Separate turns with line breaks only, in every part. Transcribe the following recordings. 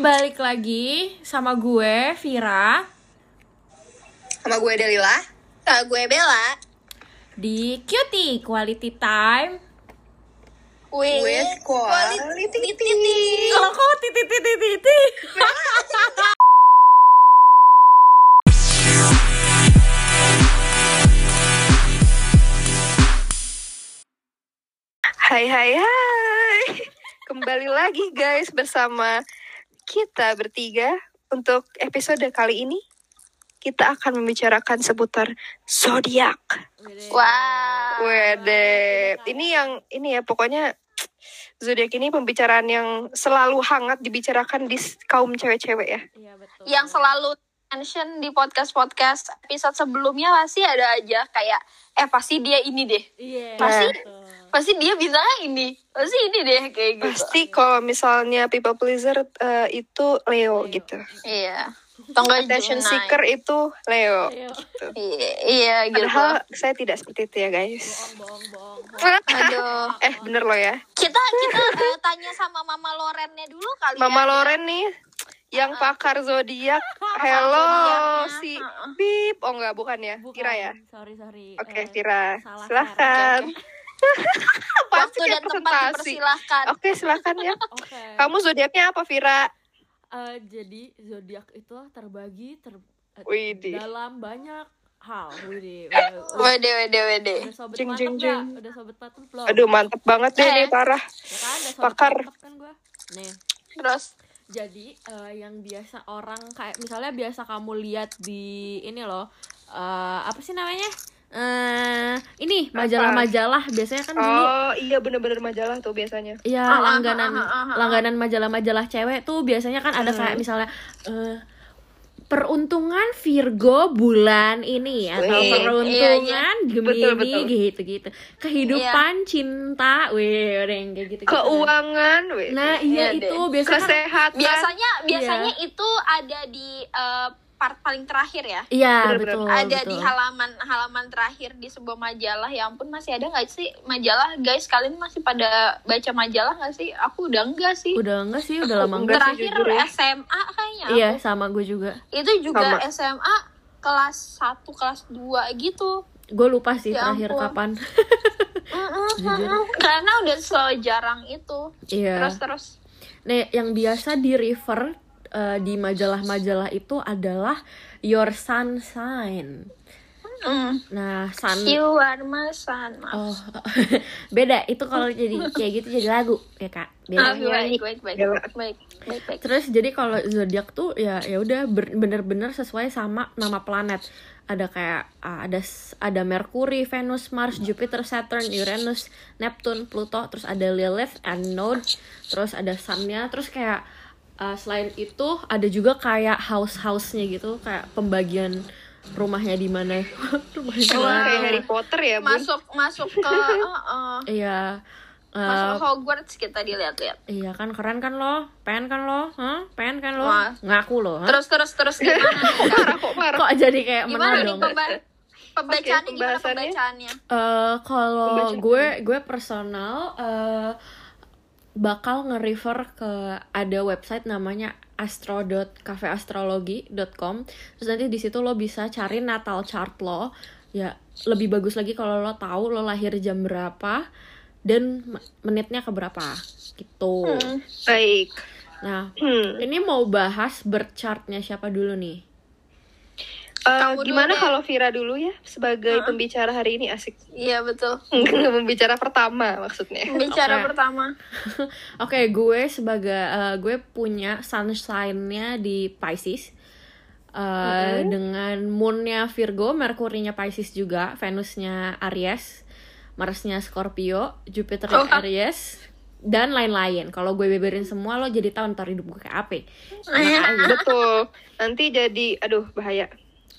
balik lagi sama gue Vira
Sama gue Delila. Sama gue Bella.
di Cutie Quality Time.
With quality.
Kalau kok titi titi titi.
Hai hai hai. Kembali lagi guys bersama kita bertiga untuk episode kali ini kita akan membicarakan seputar zodiak.
Wow.
Wede. Ini yang ini ya pokoknya zodiak ini pembicaraan yang selalu hangat dibicarakan di s- kaum cewek-cewek ya.
Iya betul.
Yang selalu mention di podcast-podcast episode sebelumnya pasti ada aja kayak eh pasti dia ini deh.
Iya.
Pasti.
betul.
Pasti dia bintangnya ini. Pasti ini deh kayak gitu.
Pasti kalau misalnya people pleaser eh, itu Leo, gitu.
Iya. Tongga
Attention seeker itu Leo.
Ayo,
Iya, iya gitu.
Padahal saya tidak seperti itu ya guys.
bohong bohong.
Aduh.
Eh bener loh ya.
Kita kita eh, tanya sama Mama Lorennya dulu kali ya.
Mama Loren nih yang pakar zodiak. Hello si Bip. Oh enggak bukan ya?
Bukan.
Kira
Eh,
ya.
Sorry sorry.
Oke,
Eh,
Kira.
salah
Silahkan. Pasti
Waktu
kayak
dan tempat
presentasi.
dipersilahkan.
Oke, silahkan ya.
Oke.
Kamu zodiaknya apa, Vira?
Eh, jadi zodiak itu terbagi ter eh,
Widih. Eh,
dalam banyak hal. Widih.
Wede wede wede.
Udah sobat
Jeng,
mantep
jeng, jeng.
nggak? Udah sobat mantep belum?
Aduh, mantep banget deh
Oh. Eh.
nih, parah.
Ya kan, udah sobat
Pakar.
mantep kan gue. Nih.
Terus
jadi eh, yang biasa orang kayak misalnya biasa kamu lihat di ini loh eh, apa sih namanya eh ini majalah-majalah biasanya kan dulu
Oh, iya bener-bener majalah tuh biasanya.
ya
ah, ah,
langganan
ah, ah, Hmm. ah.
langganan majalah-majalah cewek tuh biasanya kan ada kayak misalnya eh, peruntungan Virgo bulan ini atau
Wih,
iya,
peruntungan Gemini
Betul, betul.
gitu-gitu kehidupan cinta wih udah yang kayak gitu-gitu
Keuangan, weh.
nah iya
Iya deh.
itu biasanya kan-
kesehatan.
biasanya
Iya.
biasanya itu ada di eh, part paling terakhir ya
Iya
Bener-bener.
betul.
ada
betul.
di halaman halaman terakhir di sebuah majalah ya ampun masih ada nggak sih majalah guys kalian masih pada baca majalah nggak sih aku udah enggak sih
Udah enggak sih, udah lama
enggak
enggak.
sih,
terakhir
jujur ya.
SMA kayaknya
Iya, sama gue juga.
itu juga
Sama.
SMA kelas 1, kelas 2 gitu
Gue lupa sih
Ya
terakhir
ampun.
kapan.
karena udah sejarang itu
Iya.
terus terus
Nah, yang biasa di refer eh, di majalah-majalah itu adalah your sun sign.
mm.
Nah, sun
you are my sun
Oh, beda itu kalau jadi kayak gitu jadi lagu ya kak
Ah,
beda
baik baik baik
Gila.
baik baik baik
iya. terus jadi kalau zodiak tuh ya ya udah ber- bener-bener sesuai sama nama planet ada kayak ah, ada s- ada Mercury, Venus, Mars, Jupiter, Saturn, Uranus, Neptune, Pluto, terus ada Lilith and Node, terus ada Sun-nya, terus kayak ah, selain itu ada juga kayak house-house-nya gitu, kayak pembagian rumahnya di mana. rumahnya di
Wah,
mana.
Oh, kayak Harry Potter ya, Bun.
masuk masuk ke uh-uh.
Iya.
masuk
eh,
ke Hogwarts kita dilihat-lihat
Iya kan keren kan lo, pengen kan lo, Hah? pengen kan lo,
Wah.
ngaku lo, Hah?
terus terus terus gimana
Parah kok, parah.
kok jadi kayak
gimana nih
menodong?
pemba- pembacaannya
Oke,
gimana
pembahasannya?
pembacaannya
Eh, kalau
Pembacaan.
gue gue personal eh, bakal nge-refer ke ada website namanya astro.cafeastrologi.com terus nanti di situ lo bisa cari natal chart lo ya lebih bagus lagi kalau lo tahu lo lahir jam berapa dan me- menitnya keberapa gitu
Hmm.
Baik.
nah
Hmm.
ini mau bahas birth chartnya siapa dulu nih
Eh,
Kamu dulu
gimana
deh.
kalau Vira dulu ya sebagai pembicara hari ini asik
iya betul
pembicara pertama maksudnya
bicara
Oke.
pertama
Oke, gue sebagai eh, gue punya sunshine-nya di Pisces. Eh, dengan moon-nya Virgo, Merkurinya Pisces juga, Venus-nya Aries, Mars-nya Scorpio, Jupiter-nya
Oh.
Aries dan lain-lain. Kalau gue beberin semua lo jadi tahun ntar hidup gue kayak apa?
betul nanti jadi aduh bahaya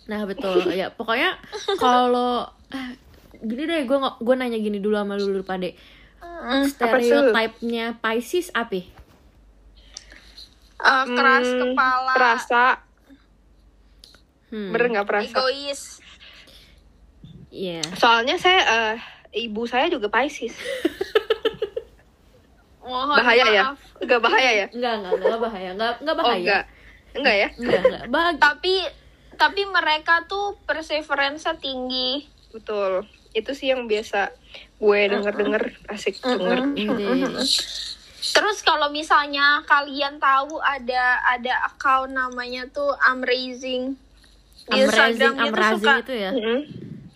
Nah betul ya pokoknya kalau eh, gini deh gue ngo- gue nanya gini dulu sama lu dulu pade
Hmm.
apa tuh?
stereotipnya Pisces apa?
Eh, keras
Hmm,
kepala
perasa
Hmm,
bener nggak perasa
egois
iya.
soalnya saya eh, ibu saya juga Pisces
Mohon
Bahaya ya?
Oh, maaf.
Enggak bahaya ya?
Enggak, enggak, enggak bahaya. Enggak, enggak
Oh,
bahaya.
enggak. Enggak ya?
Enggak, enggak. Bag-
Tapi tapi mereka tuh perseverance tinggi.
Betul. Itu sih yang biasa gue denger-denger asik denger.
Ini.
Terus kalau misalnya kalian tahu ada ada account namanya tuh Amazing. Di
Amrazing,
Iya, Instagram dia tuh suka
amrazing itu ya.
Mm-mm.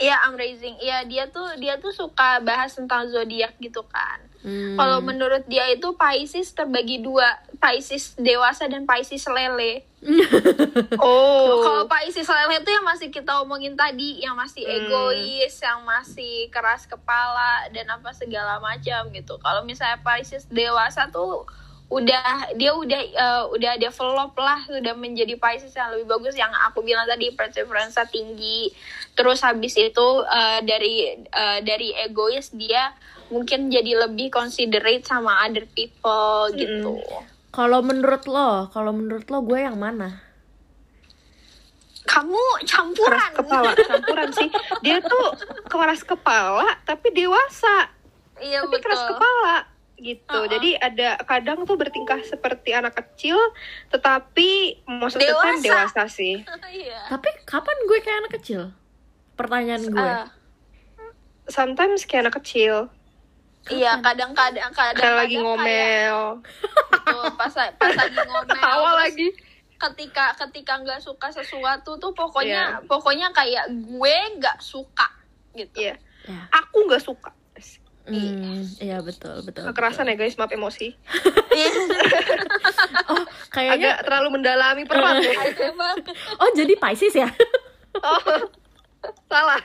Iya, Amazing. Iya, dia tuh dia tuh suka bahas tentang zodiak gitu kan.
Hmm.
Kalau menurut dia itu Pisces terbagi dua, Pisces dewasa dan Pisces lele.
Oh.
Kalau Pisces lele itu yang masih kita omongin tadi, yang masih
Hmm.
egois, yang masih keras kepala dan apa segala macam gitu. Kalau misalnya Pisces dewasa tuh udah dia udah eh, udah develop lah udah menjadi Pisces yang lebih bagus yang aku bilang tadi perseverance tinggi terus habis itu eh, dari eh, dari egois dia mungkin jadi lebih considerate sama other
Hmm.
people gitu
Kalau menurut lo, kalau menurut lo gue yang mana?
kamu
Keras
campuran
kepala, campuran sih. Dia tuh keras kepala tapi dewasa.
iya
tapi keras
betul
kepala gitu.
Uh-uh.
Jadi ada kadang tuh bertingkah seperti anak kecil tetapi maksudnya kan dewasa
Dewasa.
sih.
iya
Tapi kapan gue kayak anak kecil? Pertanyaan gue.
Ah,
Sometimes kayak anak kecil,
iya kadang-kadang kadang gitu,
kayak lagi ngomel,
pas pas lagi ngomel
ketawa
terus
lagi.
ketika ketika nggak suka sesuatu tuh
Iya.
pokoknya pokoknya kayak gue nggak suka gitu
Iya.
Ya.
Aku nggak suka.
Hmm, iya betul, betul.
Kekerasan ya guys, maaf emosi. Iya.
betul. Oh, kayaknya
Agak terlalu mendalami peran. ya.
Emang.
oh jadi Pisces ya?
Oh, salah.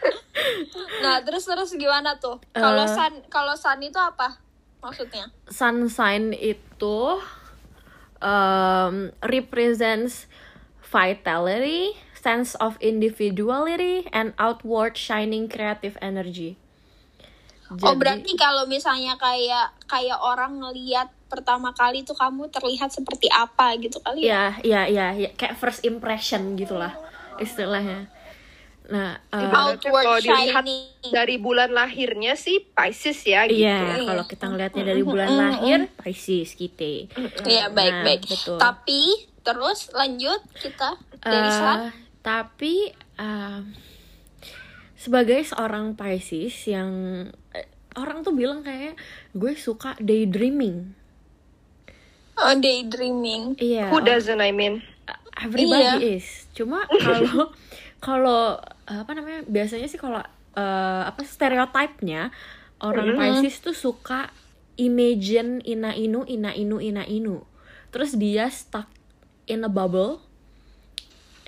nah terus terus gimana tuh kalau
Eh.
san kalau san itu apa maksudnya
Sun sign itu um, represents vitality, sense of individuality, and outward shining creative energy.
oh
Jadi-
berarti kalau misalnya kayak kayak orang ngelihat pertama kali tuh kamu terlihat seperti apa gitu kali ya
Ya, ya, ya, ya, kayak first impression gitulah istilahnya. Nah, uh,
Ibaratnya kalau
outward
dilihat
shining
Dari bulan lahirnya sih Pisces ya gitu.
iya, kalau kita ngelihatnya dari bulan lahir, Pisces kita.
Iya baik
Nah,
baik.
betul.
Tapi terus lanjut kita dari
Eh,
Slan.
tapi eh, sebagai seorang Pisces yang eh, orang tuh bilang kayak gue suka daydreaming.
Oh, daydreaming.
Iya.
Who doesn't I mean?
everybody is. Cuma kalau kalau apa namanya? Biasanya sih kalau eh, apa stereotipnya orang Pisces tuh suka imagine ina inu ina inu ina inu. Terus dia stuck in a bubble.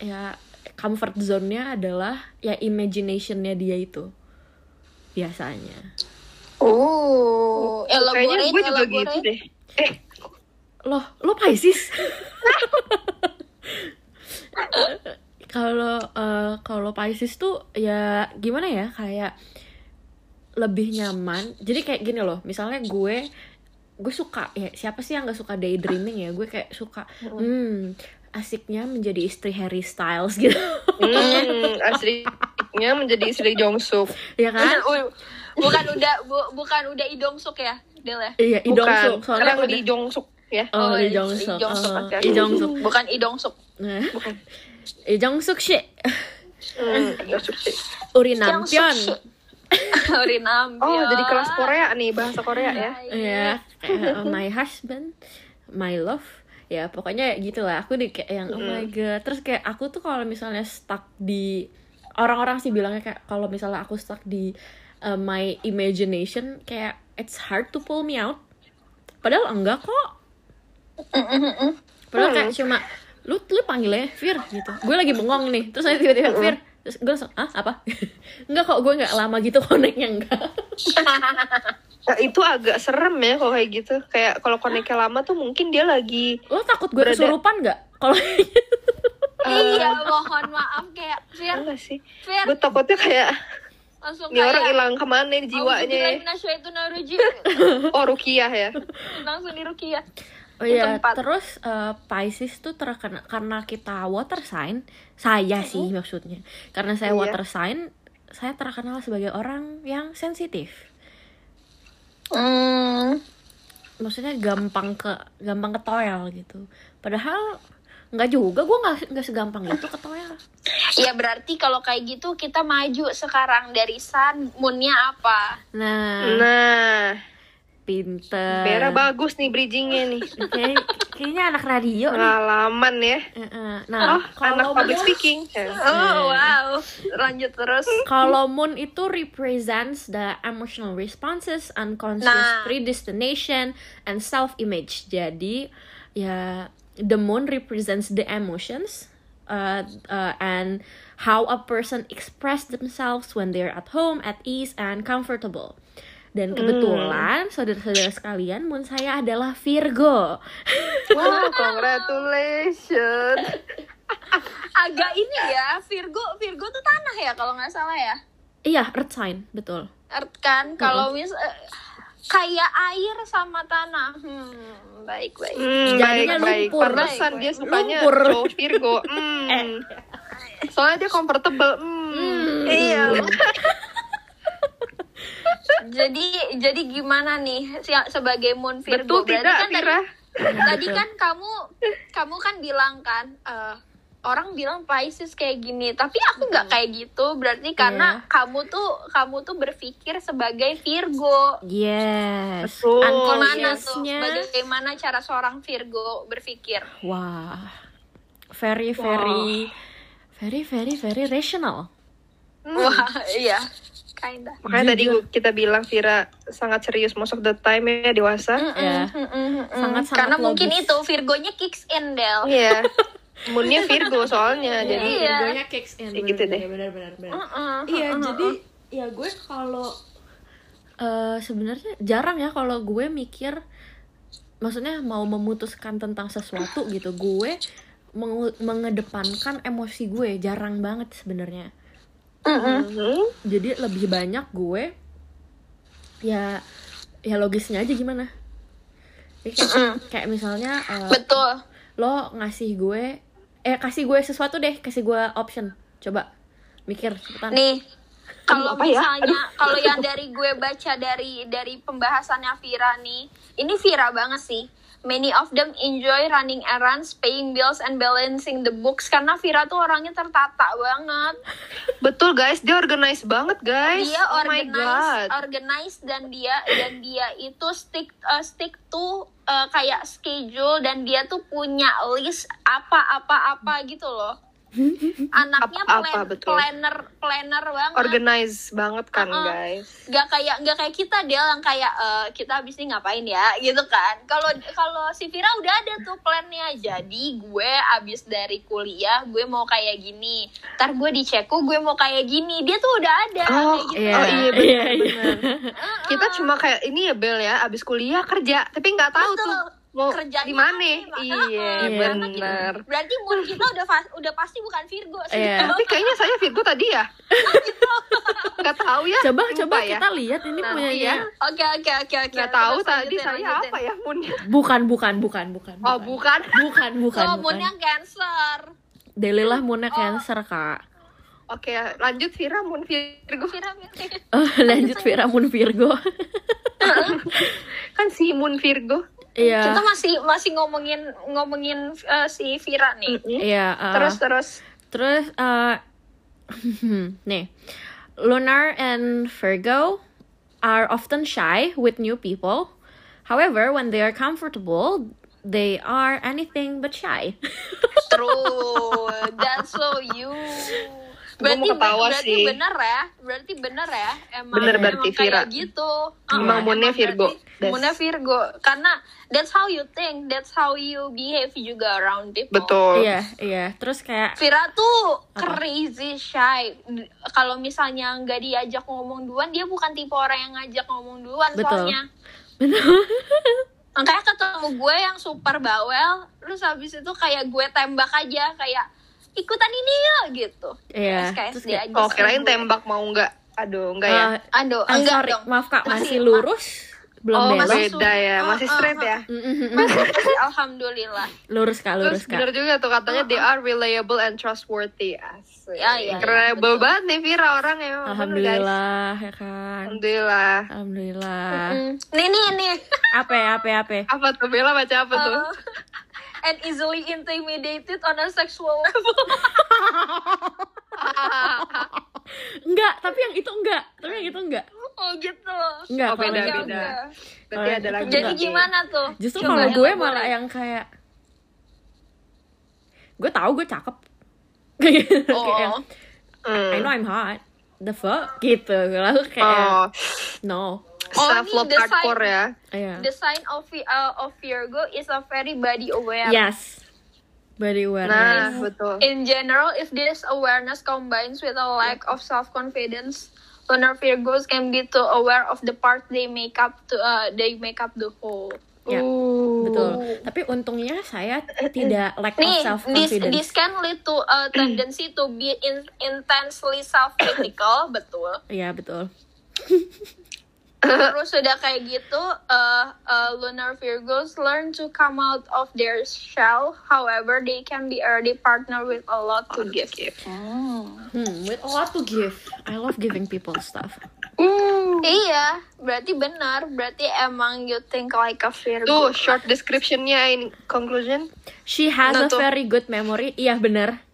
Ya comfort zone-nya adalah ya imagination-nya dia itu. Biasanya.
Oh,
Kayaknya
elaborate,
gue juga
elaborate.
gitu deh. Eh,
Loh, lo Pisces? Kalau eh, kalau Pisces tuh ya gimana ya kayak lebih nyaman. Jadi kayak gini loh, misalnya gue gue suka ya siapa sih yang nggak suka daydreaming ya? Gue kayak suka hmm asiknya menjadi istri Harry Styles gitu.
hmm, aslinya menjadi istri Jongsuk.
ya kan?
Oh, bukan udah bu- bukan udah idong suk ya, Del ya?
Iya, Lee Dong Suk.
Bukan,
Soalnya
sekarang di
udah
Jongsuk ya.
Oh, Lee
Lee
Jong Suk.
Jong Suk,
Eh,
oke.
Lee Jong Suk.
Bukan idong suk.
Nah,
Bukan.
Lee Jong Suk shit.
Hmm, Jongsuk sih.
Uri
Jong Suk
Nampion.
Suk. Urinam.
Oh, jadi kelas Korea nih, bahasa Korea
Iya,
ya.
ya kayak, uh, my husband my love ya pokoknya gitulah aku di kayak yang oh my god terus kayak aku tuh kalau misalnya stuck di orang-orang sih bilangnya kayak kalau misalnya aku stuck di uh, my imagination kayak it's hard to pull me out padahal enggak kok padahal kayak cuma lu lu panggilnya Fir gitu gue lagi bengong nih terus nanti tiba-tiba Fir terus gue langsung ah apa enggak kok gue enggak lama gitu koneknya enggak
Nah, itu agak serem ya kalau kayak gitu. Kayak kalau koneknya lama tuh mungkin dia lagi
lo takut gue
Berada-
kesurupan nggak kalau
Iya, mohon maaf kayak Fir,
enggak sih?
Fir
Gue takutnya kayak
langsung
ini orang
Ya. kayak ya. Oh,
hilang kemana nih jiwanya ya.
Auzubillahiminasyaitonirrojim.
Oh, Rukiah ya.
Langsung ya. di Rukia.
Oh iya,
tempat.
terus eh, Pisces tuh terkena karena kita water sign, saya sih maksudnya. Karena saya
Iya.
water sign, saya
Hmm.
terkenal sebagai orang yang sensitif. maksudnya gampang ke gampang ke toel gitu padahal nggak juga gue nggak nggak segampang itu ke toel
Ya berarti kalau kayak gitu kita maju sekarang dari sun moonnya apa?
nah
Nah,
pinter
Vera bagus nih bridgingnya nih.
Kayak- kayaknya anak radio nih
Pengalaman ya.
Eh, eh. nah
Oh, anak
kalau
public
Moon-
speaking. ya.
Oh wow, lanjut terus.
kalau moon itu represents the emotional responses, unconscious
Nah.
predestination, and self-image. Jadi ya the moon represents the emotions uh, uh, and how a person express themselves when they're at home, at ease, and comfortable. Dan
Hmm.
kebetulan saudara-saudara sekalian, moon saya adalah Virgo.
Wow, congratulations.
Agak ini ya Virgo, Virgo tuh tanah ya kalau nggak salah ya.
Iya, earth sign, betul.
Earth kan kalau mis eh, kayak air sama tanah. Hmm, baik baik.
Hmm,
Jadinya
baik, baik.
lumpur.
Pantesan dia sukanya
Lumpur.
cowok Virgo. Hmm. Soalnya dia comfortable. Hmm.
Iya. jadi jadi gimana nih si- sebagai Moon
Betul
Virgo? Berarti
tidak,
kan tadi
Vira?
tadi kan kamu kamu kan bilang kan eh, orang bilang Pisces kayak gini tapi aku nggak kayak gitu berarti
Iya.
karena kamu tuh kamu tuh berpikir sebagai Virgo
Yes.
Betul.
gimana tuh
Unconsciousnya.
bagaimana cara seorang Virgo berpikir
Wah, very very very very very rational.
wah iya kinda
Makanya tadi gua- kita bilang Vira sangat serius most of the time ya dewasa.
Ya, Sangat-sangat
karena
logis.
mungkin itu Virgonya kicks in Del
Iya. Moonnya Virgo soalnya. Nah, Jadi
Hmm. Iya.
Virgonya kicks in.
Ya gitu
bener,
deh.
bener, bener, bener.
Heeh.
Iya, jadi ya gue kalau eh sebenarnya jarang ya kalau gue mikir maksudnya mau memutuskan tentang sesuatu gitu. Gue mengu- mengedepankan emosi gue jarang banget sebenarnya.
Mhm.
Jadi lebih banyak gue ya ya logisnya aja gimana? Ya, Kayak, kayak misalnya eh,
betul
lo ngasih gue eh kasih gue sesuatu deh kasih gue option coba mikir cepetan
nih kalau
apa ya?
misalnya kalau yang dari gue baca dari dari pembahasannya Vira nih ini Vira banget sih many of them enjoy running errands paying bills and balancing the books karena Vira tuh orangnya tertata banget
Betul guys, dia organized banget guys.
dia
oh my
organize
god.
organize dan dia dan dia itu stick eh, stick to eh, kayak schedule dan dia tuh punya list apa-apa apa gitu loh anaknya
Hmm. Apa-apa,
plan-
betul.
planner planner banget
Organize banget kan
Uh-uh.
guys.
nggak kayak nggak kayak kita dia yang kayak eh, kita habis ini ngapain ya gitu kan kalau kalau si Vira udah ada tuh plannya jadi gue abis dari kuliah gue mau kayak gini ntar gue di Ceko gue mau kayak gini dia tuh udah ada
Oh,
kayak gitu
Iya.
oh iya benar.
Iya, iya.
Kita cuma kayak ini ya Bel ya, abis kuliah kerja, tapi nggak tahu
Betul.
tuh mau
Kerjanya
di mana.
apa,
Iya,
Heeh,
Iya.
karena gitu. kita-
benar.
berarti mood kita udah fa- udah pasti bukan Virgo sih
Iya.
Tapi kayaknya saya Virgo tadi ya. Nggak tahu ya.
coba
lupa
coba
ya.
kita lihat ini
Nanti
punya
ya.
oke oke oke oke
Nggak tahu
Terus
tadi
lanjutin,
saya
lanjutin.
apa ya Moonnya.
bukan bukan bukan bukan
Oh bukan.
bukan bukan
oh
bukan.
moodnya Cancer
Delilah Moonnya
Oh.
Cancer kak
Oke, lanjut Vira Moon Virgo.
Vira Vira.
Iya.
Oh, lanjut Vira Moon Virgo
Kan si Moon Virgo.
kita
iya
masih masih ngomongin ngomongin eh, si Vira nih
iya uh,
Terus terus.
terus uh, nih Lunar and Virgo are often shy with new people however when they are comfortable they are anything but shy
True, that's so you.
Gua mau ketawa
berarti
sih.
bener ya, berarti bener ya, emang,
Bener
emang
berarti, Vira.
kayak gitu.
Emang moonnya
berarti
Virgo. That's-
Moonnya Virgo, karena that's how you think, that's how you behave juga around people.
Betul.
Iya, iya. Terus kayak
Vira tuh crazy shy. D- Kalau misalnya nggak diajak ngomong duluan, dia bukan tipe orang yang ngajak ngomong duluan
Betul.
soalnya. Makanya ketemu gue yang super bawel, terus habis itu kayak gue tembak aja kayak ikutan ini yuk gitu.
Iya,
SKSD
terus kayak-
aja.
Oh,
sih
kirain
gue.
tembak mau nggak? Aduh, enggak ya.
eh,
Aduh,
I'm
Oh, enggak
sorry,
dong.
maaf Kak, masih
Masih-
lurus. belum
Oh,
belok.
masih-
Beda ya, masih
Ah, ah,
straight ya.
Mm, mm, mm, mm.
Masih, masih, alhamdulillah.
Lurus kak, lurus
Terus
kak.
bener juga tuh katanya they are reliable and trustworthy. Asik.
Ya, ya, ya,
Keren
betul.
banget nih Vira orang ya. bener, guys.
Alhamdulillah ya kan.
Alhamdulillah.
Alhamdulillah.
Mm. Nih nih nih.
Apa ya, apa ya, apa? ya?
Apa tuh Bella baca apa tuh?
Uh, and easily intimidated on a sexual level.
Enggak, tapi yang itu enggak. Tapi yang itu enggak.
oh gitu.
Enggak,
Oh,
kalau itu
beda, beda.
Enggak,
enggak.
enggak.
Berarti
Kalau
ada
itu
lagi.
Jadi
Enggak.
gimana tuh?
Justru
Coba
kalau gue
elaborate.
malah yang kayak gue tahu gue cakep. kayak,
Oh.
I know I'm hot. The fuck gitu. Lalu kayak
Hmm.
ya.
Oh,
no.
self love
Only the
hardcore
side-
ya.
Iya.
The sign of Vi- uh, of Virgo is a very body aware.
Yes. Body
Nah,
awareness.
betul.
In general, if this awareness combines with a lack of self-confidence, lunar Virgos can be too aware of the part they make up to uh, they make up the whole.
Ya,
Uh.
Betul. Tapi untungnya saya tidak lack of
Nih,
self
this this
confidence.
can lead to a tendency to be in- intensely self-critical, betul.
Iya, betul.
Terus sudah kayak gitu, uh, uh, lunar Virgos learn to come out of their shell. However, they can be already partner with a lot to give.
Hmm, with a lot to give. I love giving people stuff.
Uh.
Iya, berarti benar. Berarti emang you think like a
Tuh,
Virgo.
short description-nya in conclusion.
She has a
Nah, tuh.
very good memory. Iya, benar.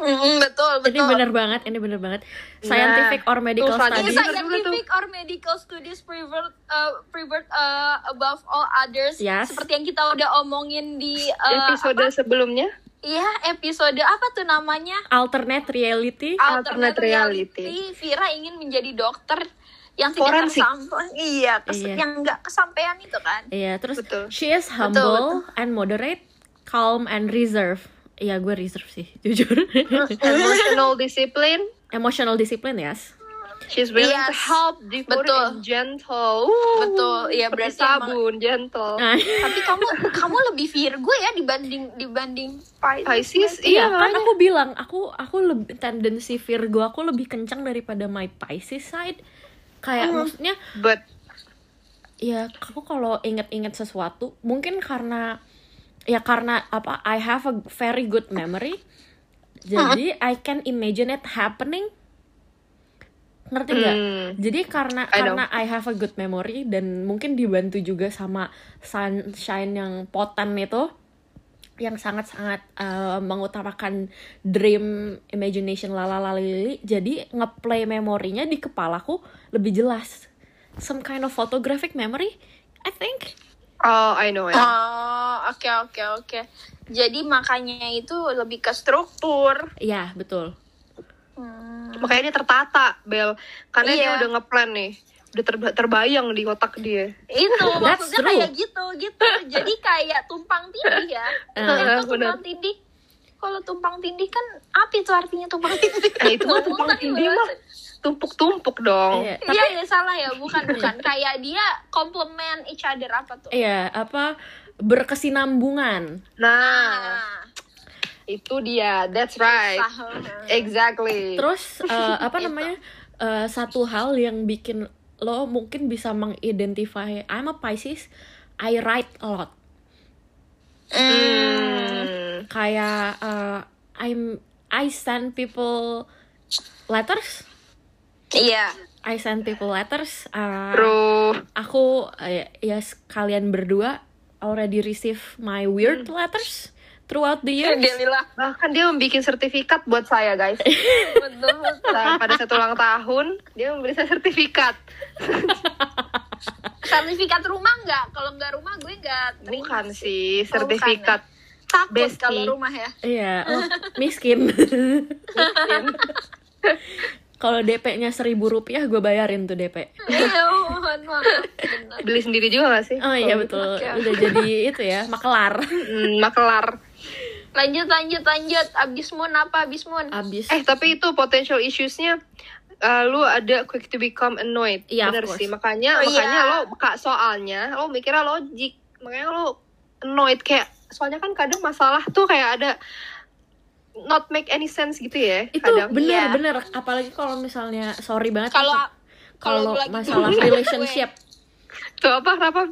Mm, betul, betul.
Ini benar banget, ini benar banget. Scientific or medical
tuh,
Ini
studies.
Bener juga
scientific or medical studies preferred, uh, preferred uh, above all others.
Yes.
Seperti yang kita udah omongin di uh,
Episode sebelumnya.
iya episode apa tuh namanya?
Alternate reality.
Alternate reality.
Vira ingin menjadi dokter yang tidak
Forensik.
tersampaikan. Iya, kes-
Iya.
yang nggak kesampaian itu kan.
Iya, terus
Betul.
she is humble and moderate, calm and reserved. Iya, gue reserve sih, jujur.
Emotional discipline.
Emotional discipline, yes.
She's willing to
Yes.
help, devoted
Betul.
and gentle. Uh,
Betul, iya,
seperti
berarti
sabun, gentle.
Nah,
Tapi kamu kamu lebih Virgo ya dibanding dibanding Pisces.
Pisces,
iya,
iya,
kan
makanya.
aku bilang, aku aku lebih tendensi Virgo aku lebih kencang daripada my Pisces side. Kayak maksudnya
But
ya aku kalau inget-inget sesuatu mungkin karena ya karena apa I have a very good memory jadi I can imagine it happening ngerti nggak
Hmm.
jadi karena
I know.
karena I have a good memory dan mungkin dibantu juga sama sunshine yang potan itu yang sangat-sangat eh, mengutamakan dream imagination lalalalili jadi ngeplay memorinya di kepalaku lebih jelas some kind of photographic memory I think
Oh, I know it.
Oh, oke oke oke. Jadi makanya itu lebih ke struktur. Hmm,
ya betul
Makanya dia tertata, Bel. Karena dia
Iya.
udah ngeplan nih. Udah terba- terbayang di otak dia.
Itu
That's
maksudnya
true.
kayak gitu gitu. Jadi kayak tumpang tindih ya.
Eh,
Eh, kok
benar.
tumpang tindih. Kalau tumpang tindih kan apa itu artinya tumpang tindih?
Eh, itu mah
Ngomong
tumpang
tadi
tindih
bahasa.
mah. Tumpuk-tumpuk dong.
Iya,
Iya, ya, salah ya, bukan bukan. Kayak dia complement each other apa tuh?
iya apa berkesinambungan
Nah,
Nah,
itu dia. That's right.
paham.
Exactly.
Terus eh, apa namanya eh, satu hal yang bikin lo mungkin bisa mengidentify I'm a Pisces, I write a lot.
Hmm.
Kayak eh, I'm I send people letters,
Iya.
I send people letters. eh,
True.
aku eh, ya kalian berdua already receive my weird letters throughout the
Iya.
years.
Delilah.
Bahkan dia membuat sertifikat buat saya, guys.
Betul.
Nah, pada satu ulang tahun, dia memberi saya sertifikat.
Sertifikat rumah nggak? Kalau nggak rumah gue nggak terima.
Oh,
Bukan sih, sertifikat.
takut
Besti.
kalau rumah ya
Iya, oh, miskin. Kalau DP-nya seribu rupiah, gue bayarin tuh DP.
iya mohon maaf benar
Beli sendiri juga gak sih?
Oh iya betul,
oke.
udah jadi itu ya makelar.
Hmm, makelar.
lanjut lanjut lanjut abis moon apa abis moon
Abis
Eh, tapi itu potential issues-nya uh, lu ada quick to become annoyed.
Iya, of
Bener
course.
sih. Makanya
Oh,
makanya
iya.
lo kak soalnya lo mikirnya logik. Makanya lo annoyed kayak soalnya kan kadang masalah tuh kayak ada not make any sense gitu ya.
itu
kadang.
Iya.
bener-bener, apalagi kalau misalnya sorry banget
kalau
kalau
lagi- Iya,
masalah
gue-
relationship
Tuh apa, kenapa?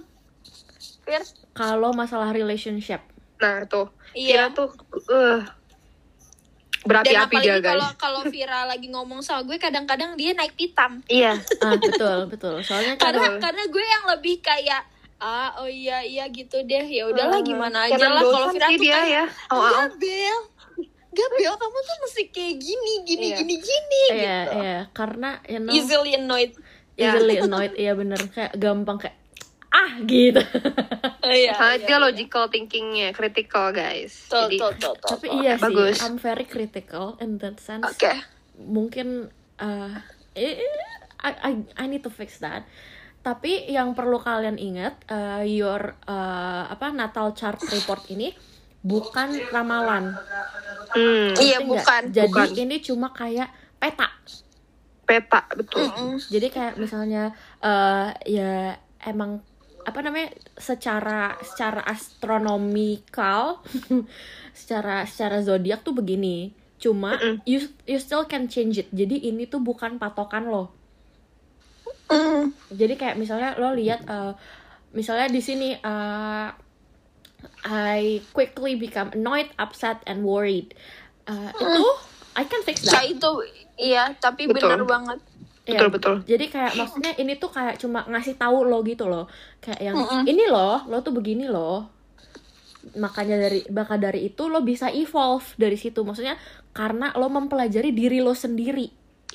Fir?
Kalau masalah relationship,
Nah, tuh. Vira
Iya.
tuh eh,
Dan
berapi-api dia,
apalagi
guys.
kalau kalau Vira lagi ngomong sama gue kadang-kadang dia naik pitam.
Iya.
ah betul betul. Soalnya kan
Karena
Betul.
karena gue yang lebih kayak ah oh iya iya gitu deh ya
Eh,
udahlah gimana aja
karena
lah kalau
dosen sih
Vira tuh kan Iya,
dia
kayak
ya. Oh,
Enggak, Bel. Enggak, Bel. Kamu tuh mesti kayak gini, gini,
Iya.
gini, gini.
iya
gitu.
iya karena you know,
Easily annoyed.
Ya.
easily annoyed iya bener kayak gampang kayak ah gitu
Oh, iya,
Karena
iya,
dia
iya.
logical thinking-nya, critical, guys.
Tuh,
Jadi,
tuh, tuh, tuh,
tapi
tuh.
iya
bagus.
sih I'm very critical in that sense
Oh, Oke.
mungkin eh, eh, I, I I need to fix that tapi yang perlu kalian ingat eh, your eh, apa Natal chart report ini bukan ramalan
Hmm,
Ngerti
Iya,
nggak?
bukan.
jadi
Bukan.
ini cuma kayak peta
peta, betul.
Mm-mm.
jadi kayak misalnya eh ya emang apa namanya secara secara astronomikal secara secara zodiak tuh begini cuma
Mm-mm.
you you still can change it jadi ini tuh bukan patokan lo
Mm.
jadi kayak misalnya lo lihat eh, misalnya di sini eh, I quickly become annoyed upset and worried Eh, itu I can fix
Nah,
that
itu iya, tapi
Betul.
bener banget.
Iya.
Betul, betul.
jadi kayak maksudnya ini tuh kayak cuma ngasih tahu lo gitu loh kayak yang
Mm-mm.
ini loh lo tuh begini loh makanya dari maka dari itu lo bisa evolve dari situ maksudnya karena lo mempelajari diri lo sendiri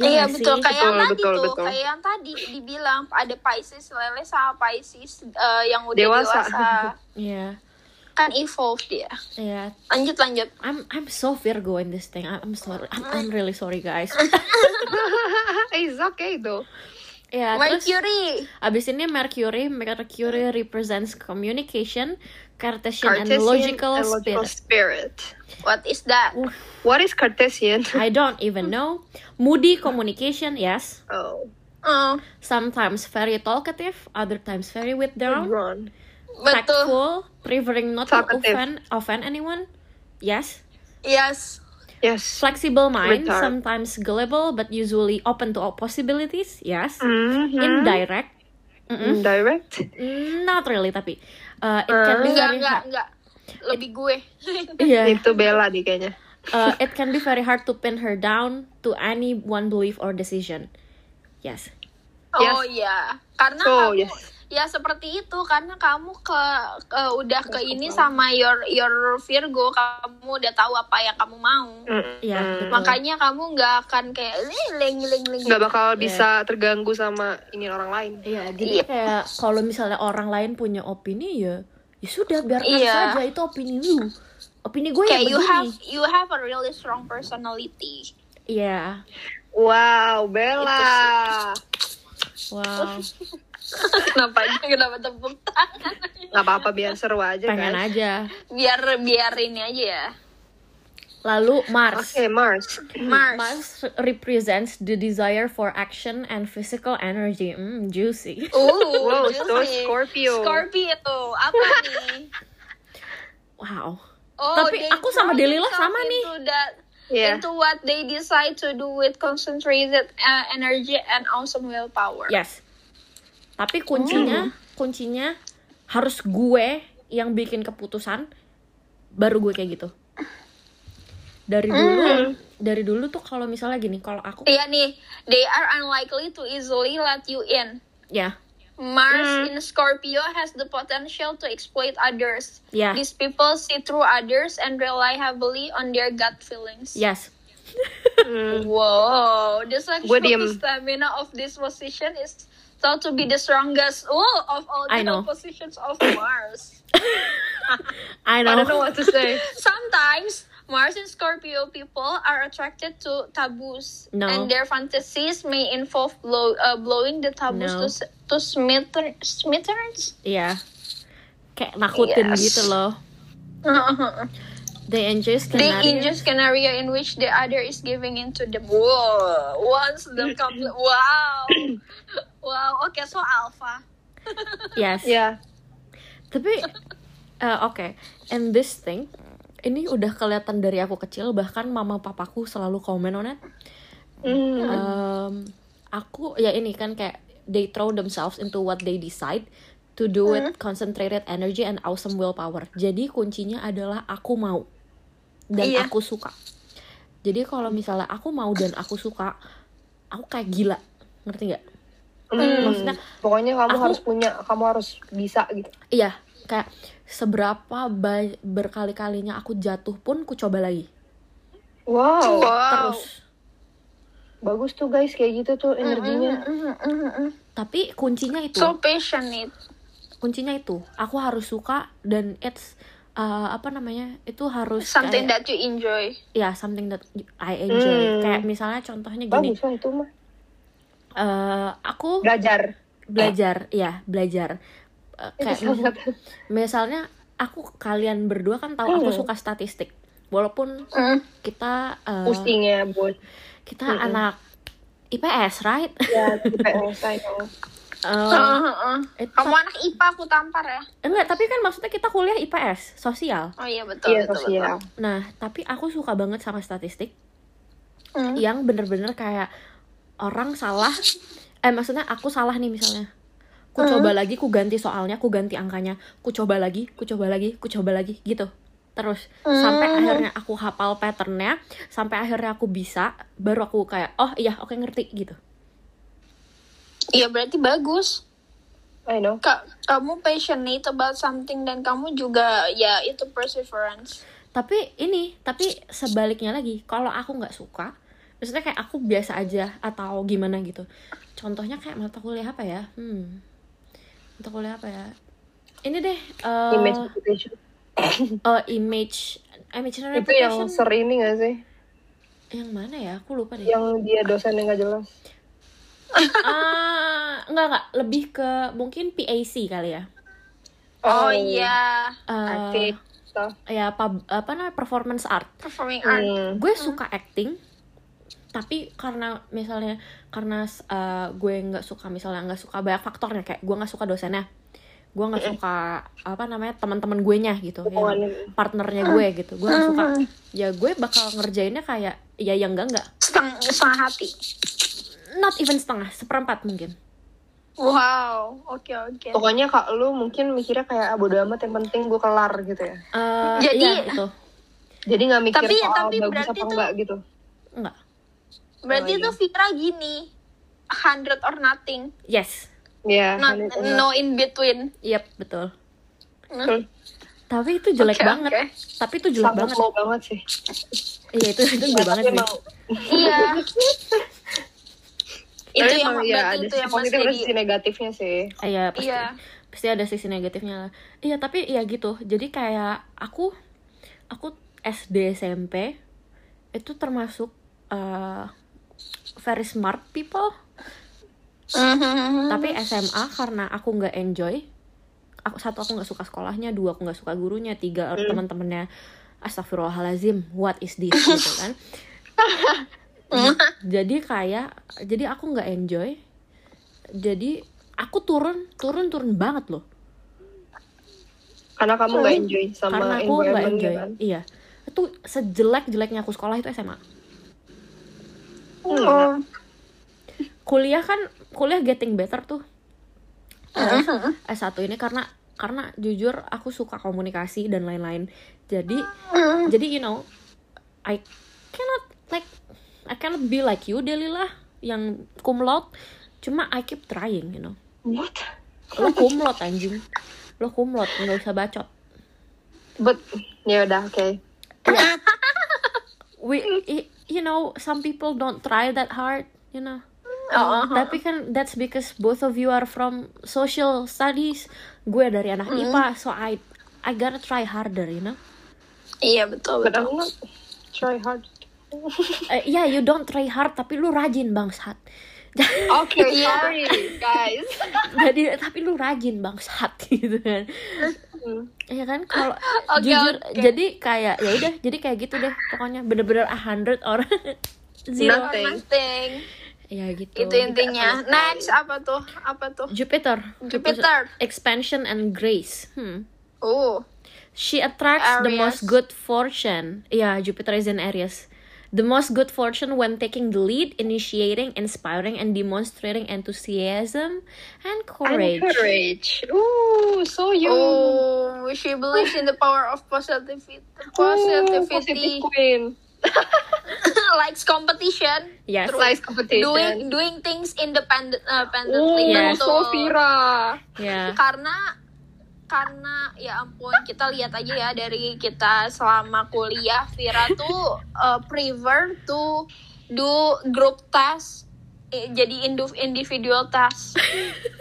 iya,
nggak
betul.
sih?
Kayak yang
Betul,
tadi
betul,
tuh.
betul.
Kayak yang tadi dibilang ada Pisces lele sama Pisces eh, yang udah
Dewasa.
dewasa.
iya
kan evolve dia.
iya
Lanjut, lanjut.
I'm I'm so Virgo in this thing I'm, I'm sorry I'm, I'm really sorry guys
It's okay, though.
ya terus
Mercury.
abis ini Mercury Mercury represents communication Cartesian, and
Cartesian
logical,
and logical spirit.
spirit
What is that?
What is Cartesian?
I don't even know moody communication yes
Oh,
Mm,
sometimes very talkative, other times very withdrawn,
Ron.
betul.
tactful, preferring not to
Talkative.
offend, offend anyone. Yes.
Yes.
Yes.
Flexible mind,
Retard.
sometimes gullible, but usually open to all possibilities. Yes.
Mhm.
Indirect. Mm-mm.
Indirect.
Not really, tapi uh, it can be
Enggak,
very
enggak,
hard.
enggak. Lebih gue.
Yeah.
Itu Bella nih kayaknya.
Uh, it can be very hard to pin her down to any one belief or decision. Yes.
Oh iya, karena
Oh,
So,
kamu
Oh, yes.
ya seperti itu karena kamu ke, ke- udah ke ini sama your your Virgo, kamu udah tahu apa yang kamu mau.
Mm-mm.
Iya. betul.
Makanya kamu nggak akan kayak "Eh, leng leng leng.
Nggak bakal bisa terganggu sama ini orang lain.
Eh. Iya, jadi kayak kalau misalnya orang lain punya opini ya, ya sudah biarkan
Iya.
saja itu opini lu. Opini gue ya
Kayak you have
begini.
you have a really strong personality.
Iya.
Wow, Bella.
Oh,
Wow.
kenapa kenapa tepuk tangan?
Nggak apa-apa, biar seru aja,
Pengen
guys.
aja.
Biar biar ini aja ya.
Lalu Mars.
Oke, Mars.
Mars.
Mars represents the desire for action and physical energy. Mm, juicy.
Oh,
Wow, so Scorpio.
Scorpio, apa nih?
Wow.
Oh,
Tapi
they
aku sama
throw
Delila
themselves
sama nih.
into that-
Yeah.
Into what they decide to do with concentrated uh, energy and awesome willpower.
Yes. Tapi kuncinya, kuncinya harus gue yang bikin keputusan baru gue kayak gitu. Dari dulu, dari dulu tuh kalau misalnya gini, kalau aku
Iya nih, they are unlikely to easily let you in.
ya,
Mars
Mm.
in Scorpio has the potential to exploit others.
ya,
These people see through others and rely heavily on their gut feelings.
yes.
Wow, the
Gua diem.
sexual stamina of this position is thought to be the strongest oh, of all
I
the
know.
positions of Mars.
I know.
I don't know what to say.
Sometimes Mars and Scorpio people are attracted to taboos,
No.
and their fantasies may involve blow, uh, blowing the taboos
No.
to s- to smiter- smithereens.
Iya. Kayak nakutin
Yes.
gitu loh. They enjoy
They
scenario.
ingest an area in which the other is giving into them. Whoa! Once the couple, wow, wow. Okay, so alpha.
Yes.
Ya.
Tapi eh, oke, and this thing ini udah kelihatan dari aku kecil bahkan mama papaku selalu komen on it.
Mm.
kan Um, aku ya ini kan kayak they throw themselves into what they decide to do
Hmm.
with concentrated energy and awesome willpower. Jadi kuncinya adalah aku mau dan
Iya.
aku suka. Jadi kalau misalnya aku mau dan aku suka, aku kayak gila, ngerti nggak?
Hmm,
Nah, Maksudnya,
pokoknya kamu
aku-
harus punya, kamu harus bisa gitu.
Iya, kayak seberapa ba- berkali-kalinya aku jatuh pun ku coba lagi Oh,
Wow,
Wow.
terus.
bagus tuh guys kayak gitu tuh energinya.
Mm, mm, mm, mm, mm.
Tapi kuncinya itu.
So passionate.
kuncinya itu aku harus suka dan it's uh, apa namanya itu harus
Something
kayak,
that you enjoy.
ya something that I enjoy
Hmm.
kayak misalnya contohnya gini
Bagus Nah, lah itu mah.
eh, aku
Belajar.
belajar ya belajar Eh,
Itu
kayak
sangat.
misalnya aku kalian berdua kan tahu aku
Hmm.
suka statistik walaupun
Mm.
kita eh,
Pusing Hmm. ya buat
kita
Mm-mm.
anak IPS right
ya IPS I know.
Eh,
Mm, mm, mm.
itu-
Kamu anak IPA aku tampar ya.
enggak tapi kan maksudnya kita kuliah IPS sosial
Oh iya betul
Iya
betul.
sosial.
betul.
nah tapi aku suka banget sama statistik
Mm.
yang bener-bener kayak orang salah eh maksudnya aku salah nih misalnya ku coba lagi ku ganti soalnya ku ganti angkanya ku coba lagi ku coba lagi ku coba lagi gitu terus sampai
Hmm.
akhirnya aku hafal patternnya sampai akhirnya aku bisa baru aku kayak oh iya oke ngerti gitu
Iya berarti bagus.
I know.
Ka- kamu passionate about something dan kamu juga ya itu perseverance.
tapi ini tapi sebaliknya lagi kalau aku nggak suka maksudnya kayak aku biasa aja atau gimana gitu contohnya kayak mata kuliah apa ya hmm mata kuliah apa ya ini deh eh,
Image reputation.
eh, image image and
Itu yang
reputation.
ser ini gak sih?
yang mana ya aku lupa deh
Yang dia dosen yang gak jelas.
Ah, enggak enggak lebih ke mungkin PAC kali ya
Oh, iya,
Eh,
Aktif. Stuff.
ya pub- apa namanya performance art
performing art.
Hmm.
gue suka acting tapi karena misalnya karena uh, gue nggak suka misalnya nggak suka banyak faktornya kayak gue nggak suka dosennya gue
Hmm.
nggak suka apa namanya teman-teman gue nya gitu yang
Iya.
Hubungan-
partnernya gue gitu gue nggak suka
Hmm.
ya gue bakal ngerjainnya kayak ya yang enggak enggak
Seteng- setengah hati.
not even setengah seperempat mungkin
Wow, oke oke.
Pokoknya kak lu mungkin mikirnya kayak ah, bodo amat yang penting gue kelar gitu ya.
Eh,
Jadi-
iya, gitu
Jadi nggak mikir
Tapi-
soal
tapi
bagus
berarti
apa
tuh-
enggak gitu.
enggak
iya.
Berarti itu Fitra gini, 100 or nothing,
yes
Iya.
not,
ini- ini-
no in between.
yep betul
Betul.
tapi itu jelek
Oke,
banget
oke.
tapi itu jelek
Sangat
banget
slow banget sih.
iya itu itu jelek banget sih.
Tapi emang
Iya. itu
Tapi
yang
emang
berarti
ya ada
itu
sisi
yang mas
positif dan
jadi.
sisi negatifnya sih.
Iya pasti,
Iya.
pasti ada sisi negatifnya lah. Iya tapi ya gitu. Jadi kayak aku aku SD SMP itu termasuk eh, very smart people.
Mm-hmm.
Tapi SMA karena aku nggak enjoy. Aku satu aku nggak suka sekolahnya, dua aku nggak suka gurunya, tiga
Hmm.
teman-temannya Astagfirullahalazim, what is this gitu kan? jadi kayak jadi aku nggak enjoy. Jadi aku turun turun turun banget loh.
Karena kamu nggak enjoy sama
karena aku nggak
environment
enjoy
kan.
iya itu sejelek jeleknya aku sekolah itu SMA
Oh.
kuliah kan kuliah getting better tuh eh satu ini karena karena jujur aku suka komunikasi dan lain-lain jadi
Ah.
jadi you know I cannot like I cannot be like you Delilah yang kumlot cuma I keep trying you know
What?
lo kumlot anjing lo kumlot nggak usah bacot
But ya udah oke.
we i- you know some people don't try that hard you know
Oh,
Tapi kan that's because both of you are from social studies. Gue dari anak IPA, so I I gotta try harder, you know.
Iya betul
But
betul.
I'm not try hard.
Eh, ya, you don't try hard, tapi lu rajin bangsat.
Oke,
Iya.
sorry guys.
Jadi tapi lu rajin bangsat gitu kan. Iya kan kalau
Oke,
jujur
oke.
jadi kayak ya udah jadi kayak gitu deh pokoknya bener-bener a hundred orang zero
Nah.
Or nothing.
ya gitu
Iya, Itu intinya. Next apa tuh? Apa tuh?
Jupiter
Jupiter.
expansion and grace hmm.
Oh.
She attracts the
Aries.
most good fortune. Iya, Jupiter is in Aries. The most good fortune when taking the lead, initiating, inspiring, and demonstrating enthusiasm and courage.
Courage. Ooh, so you.
Oh, she believes in the power of positivity.
Oh,
Positivity
Positive queen.
likes competition,
Yes.
Life competition.
doing doing things independent, uh,
Ooh,
independently.
Yes.
betul.
so Vira.
Yeah.
karena karena ya ampun kita lihat aja ya dari kita selama kuliah Vira tuh uh, prefer to do group task eh, jadi indu- individual task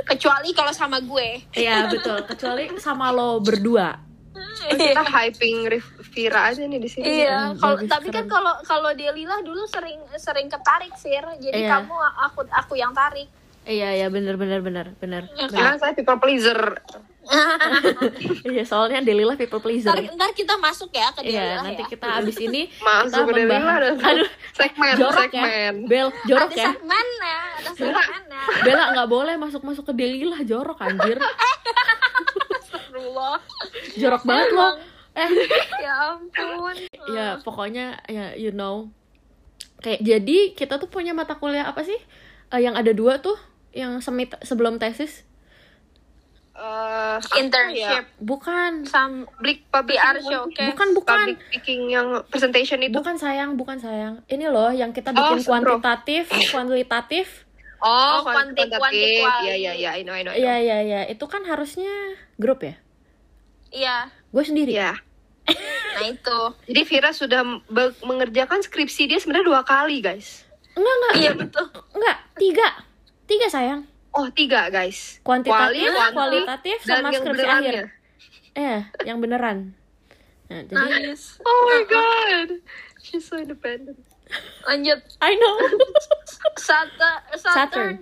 kecuali kalau sama gue
Iya, betul. Kecuali sama lo berdua.
Oh, kita hyping Rif- Vira aja nih di sini.
Iya,
Iya, kalau
bagus,
tapi kan
keren.
kalau kalau Delilah dulu sering sering ketarik Fir, jadi
Iya.
kamu aku aku yang tarik.
Iya, iya bener bener bener bener. Nah,
Karena saya people pleaser.
Iya, soalnya Delilah people pleaser.
Ntar, ntar kita masuk ya ke Delilah
Iya, nanti
ya.
kita abis ini
Masuk
kita
ke Delilah
membahas-
dan
Aduh,
segmen,
jorok ya.
segmen.
Bel, jorok
Ada
ya.
mana? Ada ya. mana?
Bella nggak boleh masuk-masuk ke Delilah, jorok anjir.
Astagfirullah.
Jorok banget lo. Eh,
Ya ampun.
ya pokoknya ya you know. Kayak jadi kita tuh punya mata kuliah apa sih? Eh, yang ada dua tuh, yang semi sebelum tesis.
Eh,
ya. Internship
Bukan.
sam
public public
PR showcase.
Bukan, bukan.
public speaking yang presentation itu.
Bukan sayang, bukan sayang. Ini loh yang kita
Oh,
bikin
sempro.
kuantitatif, kuantitatif.
Oh,
kuanti-
kuantitatif.
kuanti-
Iya, iya, iya, I know, I know. I know.
Iya, iya, iya. Itu kan harusnya grup ya?
Iya,
Gue sendiri.
Iya.
nah itu.
Jadi Vira sudah be- mengerjakan skripsi dia sebenarnya dua kali, guys.
Enggak, enggak.
Iya betul.
Enggak, tiga. Tiga sayang.
Oh, tiga, guys.
Kuantitatif,
Kuali, kuanti,
kualitatif,
dan
sama
yang
skripsi
beneran
akhir.
ya.
Eh, yang beneran. Nah, jadi,
Nice.
Oh my god. She's so independent
Lanjut.
I know.
Saturn. Saturn.
Saturn.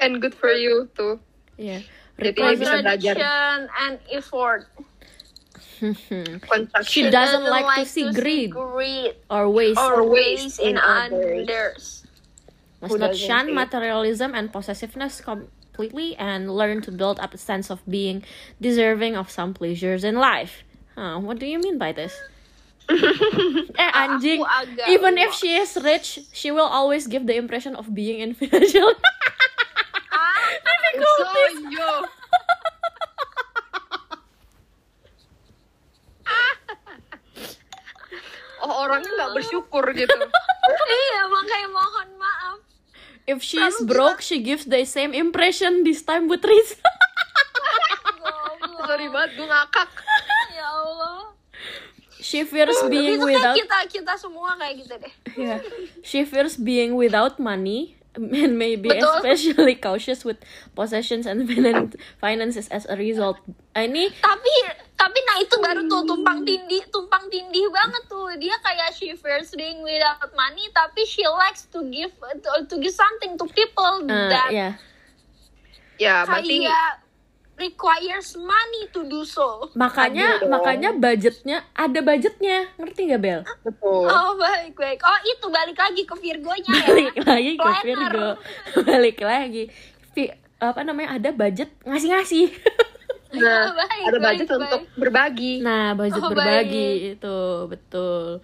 and good for you tuh.
Iya.
Jadi
Request-
bisa belajar.
Production and effort.
She
Construction.
doesn't like to see greed
greed
or waste.
or waste
waste in
in
others.
others.
must
Who
not
doesn't
shun
see?
materialism and possessiveness completely and learn to build up a sense of being deserving of some pleasures in life. Huh, what do you mean by this? eh anjing,
Aku agak
even if
luas.
she is rich, she will always give the impression of being in financial
Ah,
difficulties.
yo. oh orangnya nggak bersyukur gitu.
iya, makanya mohon maaf.
If she is broke, she gives the same impression this time with Riz.
Goblok.
Sorry banget gue ngakak.
ya Allah.
she fears
Oh,
being
Itu kayak
without
kita kita semua kayak gitu deh.
Yeah. She fears being without money and may be
Betul.
especially cautious with possessions and finan- finances as a result. Ah, Ini
tapi tapi nah itu baru tuh tumpang tindih tumpang tindih banget tuh dia kayak she fears being without money tapi she likes to give to, to give something to people
uh,
that
ya.
Ya berarti
iya.
kayak requires money to do so
Makanya
Tadi dong.
makanya budgetnya ada budgetnya. Ngerti nggak Bel?
betul.
oh baik baik oh itu balik lagi ke Virgonya ya
Balik lagi ke
Planner.
Virgo. Balik lagi. Fi- apa namanya? Ada budget ngasih-ngasih.
Nah,
iya, baik,
ada
baik,
budget
baik.
untuk berbagi.
Nah, budget
Oh,
berbagi itu betul.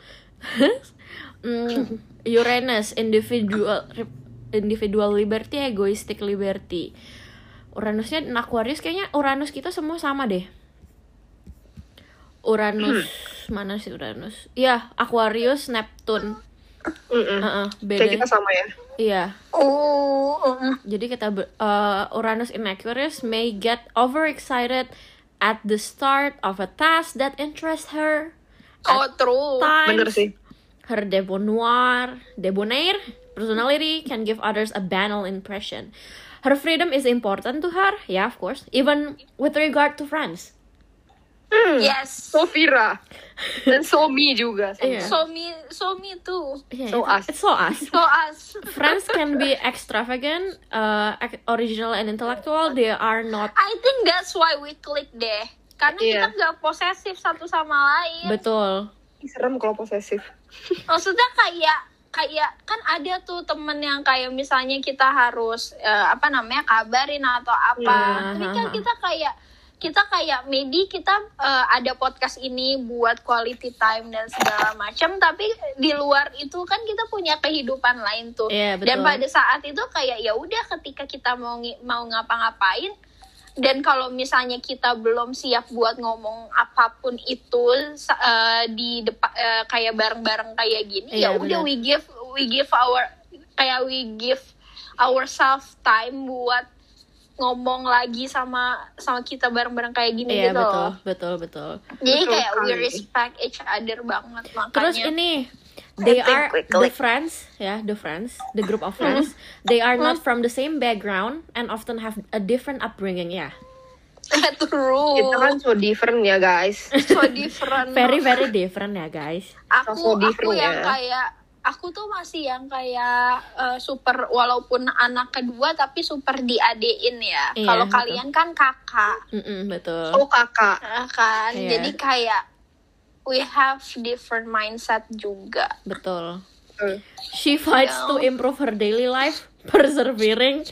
Hmm, Uranus individual individual liberty, egoistic liberty. Uranusnya dan Aquarius kayaknya Uranus kita semua sama deh. Uranus
Hmm.
mana sih Uranus? Ya, Aquarius, Neptune.
Mm-mm.
ah,
Heeh, beda.
Kayak kita sama ya.
Iya.
oh
Jadi kita ber- eh, Uranus in Aquarius may get overexcited at the start of a task that interests her.
oh true
times.
Bener sih.
Her debonair, debonair personality can give others a banal impression. Her freedom is important to her, yeah, of course, even with regard to friends.
yes
So Vira dan so me juga. sama.
Iya.
so me so me too
Yeah,
So
it's-
us.
It's so us.
so us
friends can be extravagant, uh, ac- original, and intellectual. They are not
I think that's why we click deh karena
Iya.
kita nggak posesif satu sama lain
betul.
Ih, Serem kalau posesif.
maksudnya kayak kayak kan ada tuh temen yang kayak misalnya kita harus eh, apa namanya kabarin atau apa
Iya,
tapi
ha,
kan
ha.
kita kayak kita kayak maybe kita eh, ada podcast ini buat quality time dan segala macam tapi di luar itu kan kita punya kehidupan lain tuh
Iya, betul.
dan pada saat itu kayak ya udah ketika kita mau ngi- mau ngapa-ngapain dan kalau misalnya kita belum siap buat ngomong apapun itu sa- eh, di depan kayak bareng-bareng kayak gini
Iya,
ya udah
benar.
we give we give our kayak we give ourselves time buat ngomong lagi sama sama kita bareng-bareng kayak gini
Iya,
gitu
betul,
loh.
betul, betul.
Jadi
Betul
kayak we
sekali.
respect each other banget makanya.
Terus ini they
I think
are
quickly.
the friends, ya, the friends, the group of friends. They are not from the same background and often have a different upbringing, ya.
true.
Kita kan so different ya guys.
so Oh. different.
Very very different ya, guys.
aku
so
aku
different
yang
ya.
kayak aku tuh masih yang kayak eh, super walaupun anak kedua tapi super diadein ya.
Iya,
Kalau
betul.
kalian kan kakak.
Mm-mm, betul.
Oh kakak.
Nah, kan
Iya.
jadi kayak we have different mindset juga
Betul.
Betul.
She fights to improve her daily life, persevering.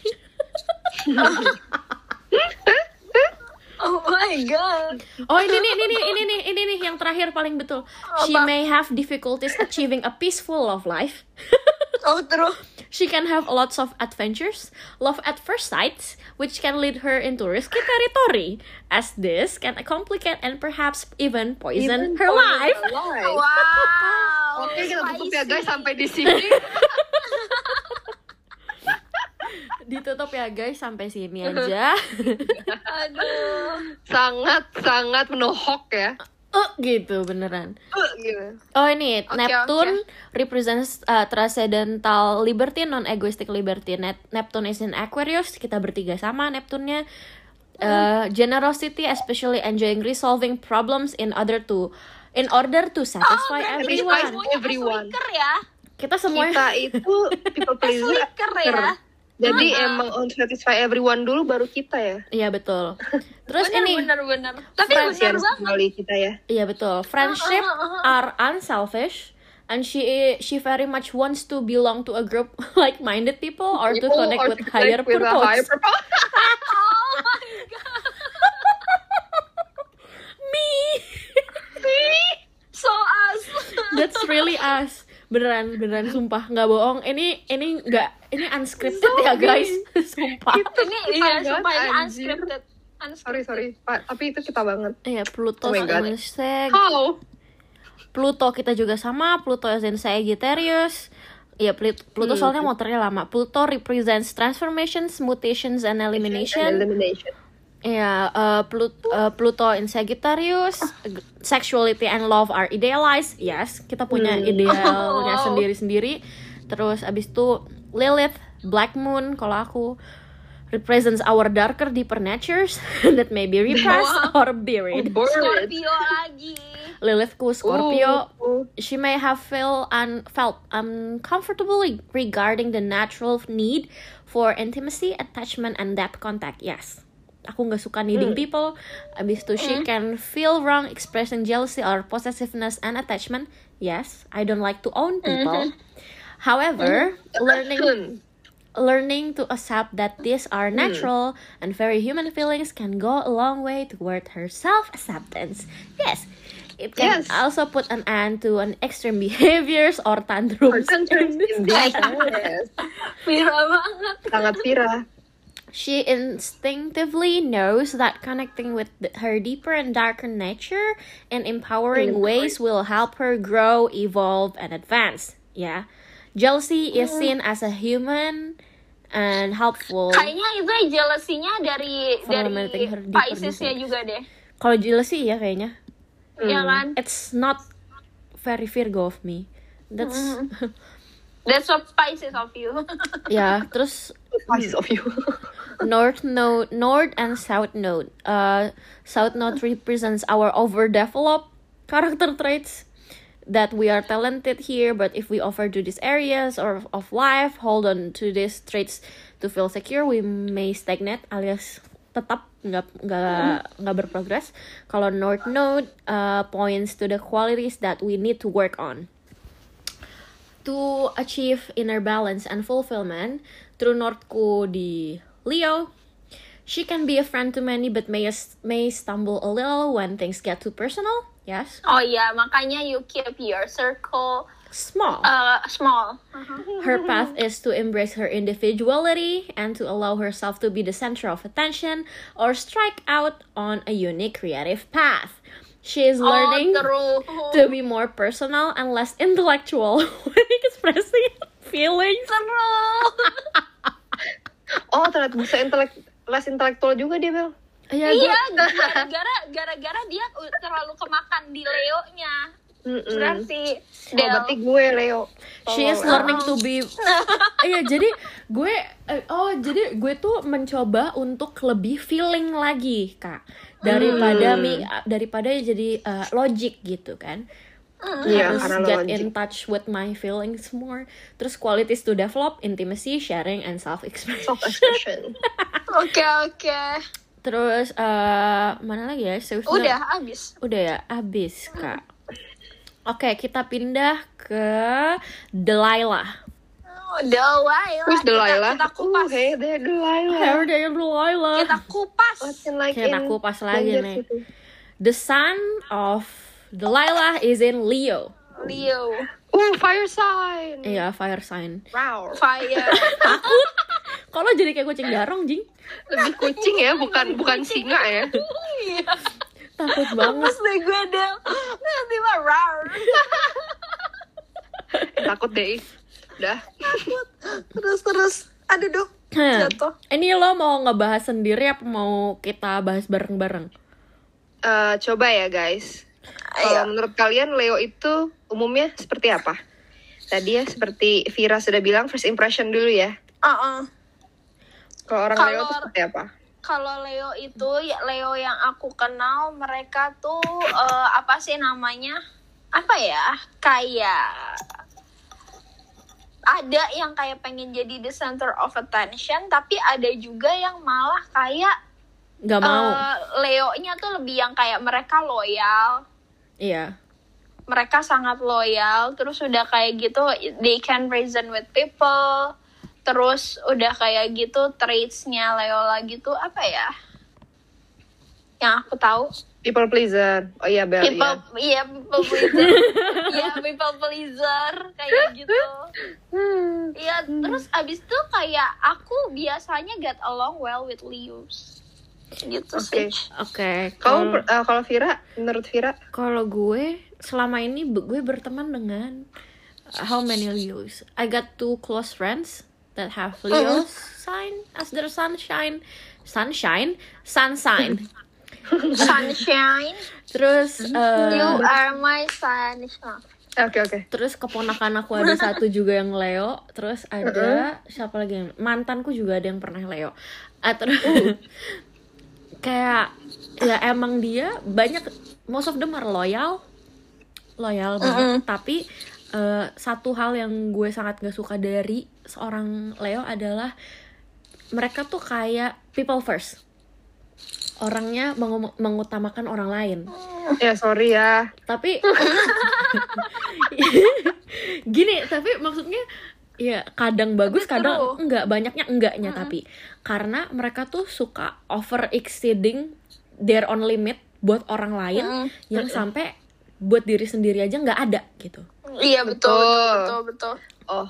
oh my god
Oh ini nih, ini nih, ini nih, ini nih yang terakhir paling betul. She
Apa?
may have difficulties achieving a peaceful love life.
oh terus
She can have lots of adventures, love at first sight, which can lead her into risky territory, as this can complicate and perhaps even poison her life.
Live.
wow
Oke kita tutup ya
spicy.
guys sampai di sini.
Ditutup ya guys sampai sini aja.
aduh
sangat sangat menohok ya.
oh gitu beneran.
Iya.
Gitu.
Oh ini
Oke,
Neptune represents uh, transcendental liberty, non egoistic liberty. Net- Neptune is in Aquarius, kita bertiga sama Neptunnya. Uh, generosity, especially enjoying resolving problems in order to in order to satisfy
berarti
everyone.
semuanya
everyone.
swinger ya
Kita semua
Kita itu people pleaser.
swinger ya
Jadi emang on satisfy everyone dulu baru kita ya.
Iya betul. Terus
bener,
ini
bener bener tapi
Friends
bener
Harus
banget
kembali kita ya.
Iya betul. Friendship are unselfish and she she very much wants to belong to a group like-minded people or to
People
connect
are
with
to
higher
connect with a higher
purpose.
purpose.
oh my god
Me.
so us
That's really us. Beneran beneran sumpah nggak bohong. Ini ini nggak ini unscripted ya guys. sumpah.
ini iya
banget,
sumpah ini
anjir.
unscripted
Sorry
unscripted
sorry, Pak. tapi itu kita banget.
Iya Pluto
Oh my God.
sama Sag.
How?
Pluto kita juga sama, Pluto is in Sagittarius. Ya, Plut- Pluto
Hmm.
soalnya motornya lama. Pluto represents transformations, mutations, and elimination.
Elimination.
Ya, uh, Plut- uh, Pluto in Sagittarius, g- sexuality and love are idealized. Yes, kita punya idealnya
Wow.
sendiri-sendiri. Terus abis itu Lilith, Black Moon kalau aku represents our darker deeper natures that may be repressed or buried.
Bird.
Scorpio lagi
Lilithku Scorpio,
Ooh.
she may have feel un- felt uncomfortable regarding the natural need for intimacy, attachment, and depth contact. Yes. Aku nggak suka needing people. Abis itu she can feel wrong expressing jealousy or possessiveness and attachment. Yes, I don't like to own people. However, learning
Hmm.
learning to accept that these are natural and very human feelings can go a long way toward her self acceptance. Yes, it can
Yes.
also put an end to an extreme behaviors or tantrums.
Concerns in this. Yes.
viral banget
Sangat viral.
She instinctively knows that connecting with th- her deeper and darker nature in empowering ways will help her grow, evolve, and advance. Yeah. Jealousy is seen as a human and helpful.
kayaknya itu jealousy-nya dari
Fundamenting her
dari
deeper
Pisces-nya
gitu.
juga deh
Kalau jealousy ya kayaknya.
ya kan
it's not very Virgo of me. That's
that's what Pisces of you
ya. Terus
Spice of you.
North Node, North and South Node. Uh, South Node represents our overdeveloped character traits that we are talented here, but if we overdo these areas or of life, hold on to these traits to feel secure, we may stagnate alias tetap nggak nggak nggak berprogres. Kalau North Node uh, points to the qualities that we need to work on. to achieve inner balance and fulfillment through Northku di Leo. She can be a friend to many but may may stumble a little when things get too personal. Yes.
Oh iya, makanya you keep your circle
Small.
uh, small.
Her path is to embrace her individuality and to allow herself to be the center of attention or strike out on a unique creative path. She is learning
Oh, true.
to be more personal and less intellectual when expressing feelings.
Seru.
Oh ternyata bisa intelek les intelektual juga dia Bel.
Ya, gue-
Iya, gara-gara gara-gara dia terlalu kemakan di Leo-nya. Berarti
Oh,
Del.
berarti gue Leo.
Oh,
She is learning to be. Iya, jadi gue eh, oh jadi gue tuh mencoba untuk lebih feeling lagi, Kak.
Hmm.
Daripada mi eh, daripada jadi eh, logic gitu kan.
Iya
Terus
karena
get
logik.
in touch with my feelings more. Terus qualities to develop, intimacy, sharing, and self-expression.
Oh.
Self expression.
Oke, oke.
Terus eh mana lagi ya? Self-
Udah habis.
Udah ya, habis, Kak. Oke, kita pindah ke Delilah.
Oh, Delilah.
Who's Delilah?
Kita, kita kupas.
Oh, hey there Delilah.
How dare you, Delilah?
Iya. Kita kupas.
Looking like
Kita
in
kupas lagi
danger
nih.
gitu.
The sun of Delilah is in Leo.
Leo.
Uh, fire sign.
Iya, fire sign.
Wow.
Fire.
Kalau jadi kayak kucing garong, Jing.
Lebih kucing ya, bukan bukan singa ya.
Iya.
Takut banget.
Terus deh gue Del. Terus tiba rar.
Takut deh. Udah.
Terus terus. Aduh duh.
Hmm.
Jatuh.
Ini lo mau ngebahas sendiri apa mau kita bahas bareng-bareng?
Eh, coba ya guys. Kalau menurut kalian Leo itu umumnya seperti apa? Tadi ya seperti Vira sudah bilang first impression dulu ya.
Uh-uh.
Kalau orang
Kalau-
Leo itu seperti apa?
Kalau Leo itu ya Leo yang aku kenal mereka tuh eh, apa sih namanya? Apa ya? Kayak ada yang kayak pengen jadi the center of attention, tapi ada juga yang malah kayak
Gak mau.
eh, Leo-nya tuh lebih yang kayak mereka loyal,
Iya.
mereka sangat loyal terus udah kayak gitu they can reason with people terus udah kayak gitu traitsnya Leola gitu apa ya yang aku tahu
People pleaser. Oh
Ya,
iya Bel.
people
iya.
iya people pleaser iya people pleaser kayak gitu iya terus abis itu kayak aku biasanya get along well with Leos gitu
Oke.
sih
Oke.
Kamu
Hmm.
kalau-
per- eh, kalau Vira, menurut Vira,
Kalau gue selama ini be- gue berteman dengan uh, how many Leos? I got two close friends that have
Oh.
Leo sign as their sunshine, sunshine, sun sign.
sunshine
Terus uh,
you are my sunshine
Eh, oke oke.
terus keponakan aku ada satu juga yang Leo. Terus ada siapa lagi? yang- Mantanku juga ada yang pernah Leo. Ah, terus kayak ya emang dia banyak most of them are loyal loyal banget tapi eh, satu hal yang gue sangat gak suka dari seorang Leo adalah mereka tuh kayak people first orangnya mengu- mengutamakan orang lain
Ya sorry ya.
tapi gini tapi maksudnya ya kadang bagus
Tapi
kadang
true.
enggak banyaknya enggaknya tapi karena mereka tuh suka over exceeding their own limit buat orang lain
Mm.
yang sampai buat diri sendiri aja nggak ada gitu
iya betul betul
Betul.
betul, betul.
Oh,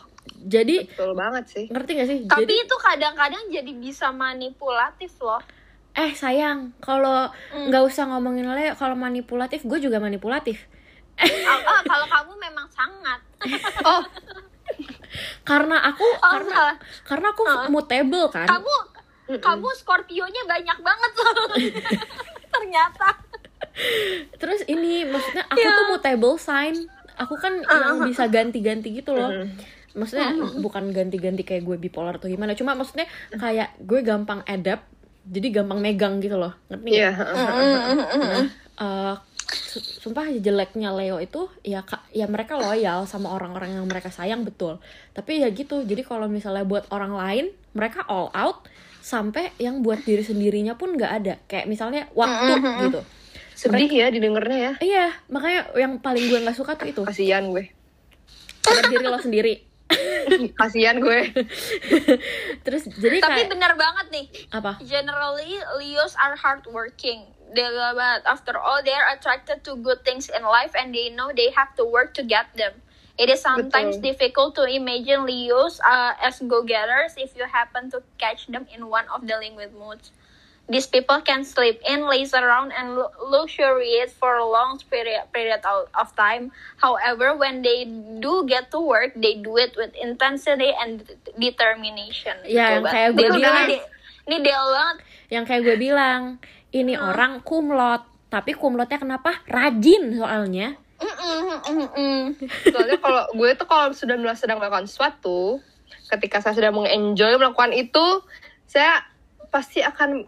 jadi
betul banget sih.
ngerti gak sih
Tapi
jadi
itu kadang-kadang jadi bisa manipulatif loh.
eh sayang kalau
Mm.
nggak usah ngomongin Leo kalau manipulatif gue juga manipulatif
Ah, ah, kalau kamu memang sangat.
Oh,
karena aku
Oh,
karena
salah.
karena aku mutable kan
Kamu kamu Scorpio-nya banyak banget soalnya. Ternyata.
Terus ini maksudnya aku tuh mutable sign. Aku kan yang bisa ganti-ganti gitu loh. Maksudnya bukan ganti-ganti kayak gue bipolar atau gimana. Cuma maksudnya kayak gue gampang adapt. Jadi gampang megang gitu loh. Ngerti nggak?
iya.
Eh, su- sumpah jeleknya Leo itu ya ka- ya mereka loyal sama orang-orang yang mereka sayang betul. Tapi ya gitu. Jadi kalau misalnya buat orang lain mereka all out sampai yang buat diri sendirinya pun nggak ada. Kayak misalnya waktu gitu.
Sedih ya didengarnya ya.
Iya, makanya yang paling gue nggak suka tuh itu
Kasihan gue.
Sama diri lo sendiri.
Kasihan gue.
Terus jadi
Tapi
kayak
benar banget nih.
apa?
Generally, Leos are hardworking. They love it. After all, they are attracted to good things in life, and they know they have to work to get them. It is sometimes
Betul.
difficult to imagine Leos uh, as go-getters if you happen to catch them in one of the liquid moods. These people can sleep in, laze around, and lu- luxuriate for a long period, period of, of time. However, when they do get to work, they do it with intensity and determination.
Ya, yang
Gitu,
kayak
Bang.
gue
Betul
bilang.
banget. Ini dia banget.
Yang kayak gue bilang, ini orang kumlot, tapi kumlotnya kenapa? Rajin soalnya.
Mm-mm, mm-mm.
Soalnya kalau gue tuh kalau sudah mel- sedang melakukan sesuatu, ketika saya sudah mengenjoy melakukan itu, saya pasti akan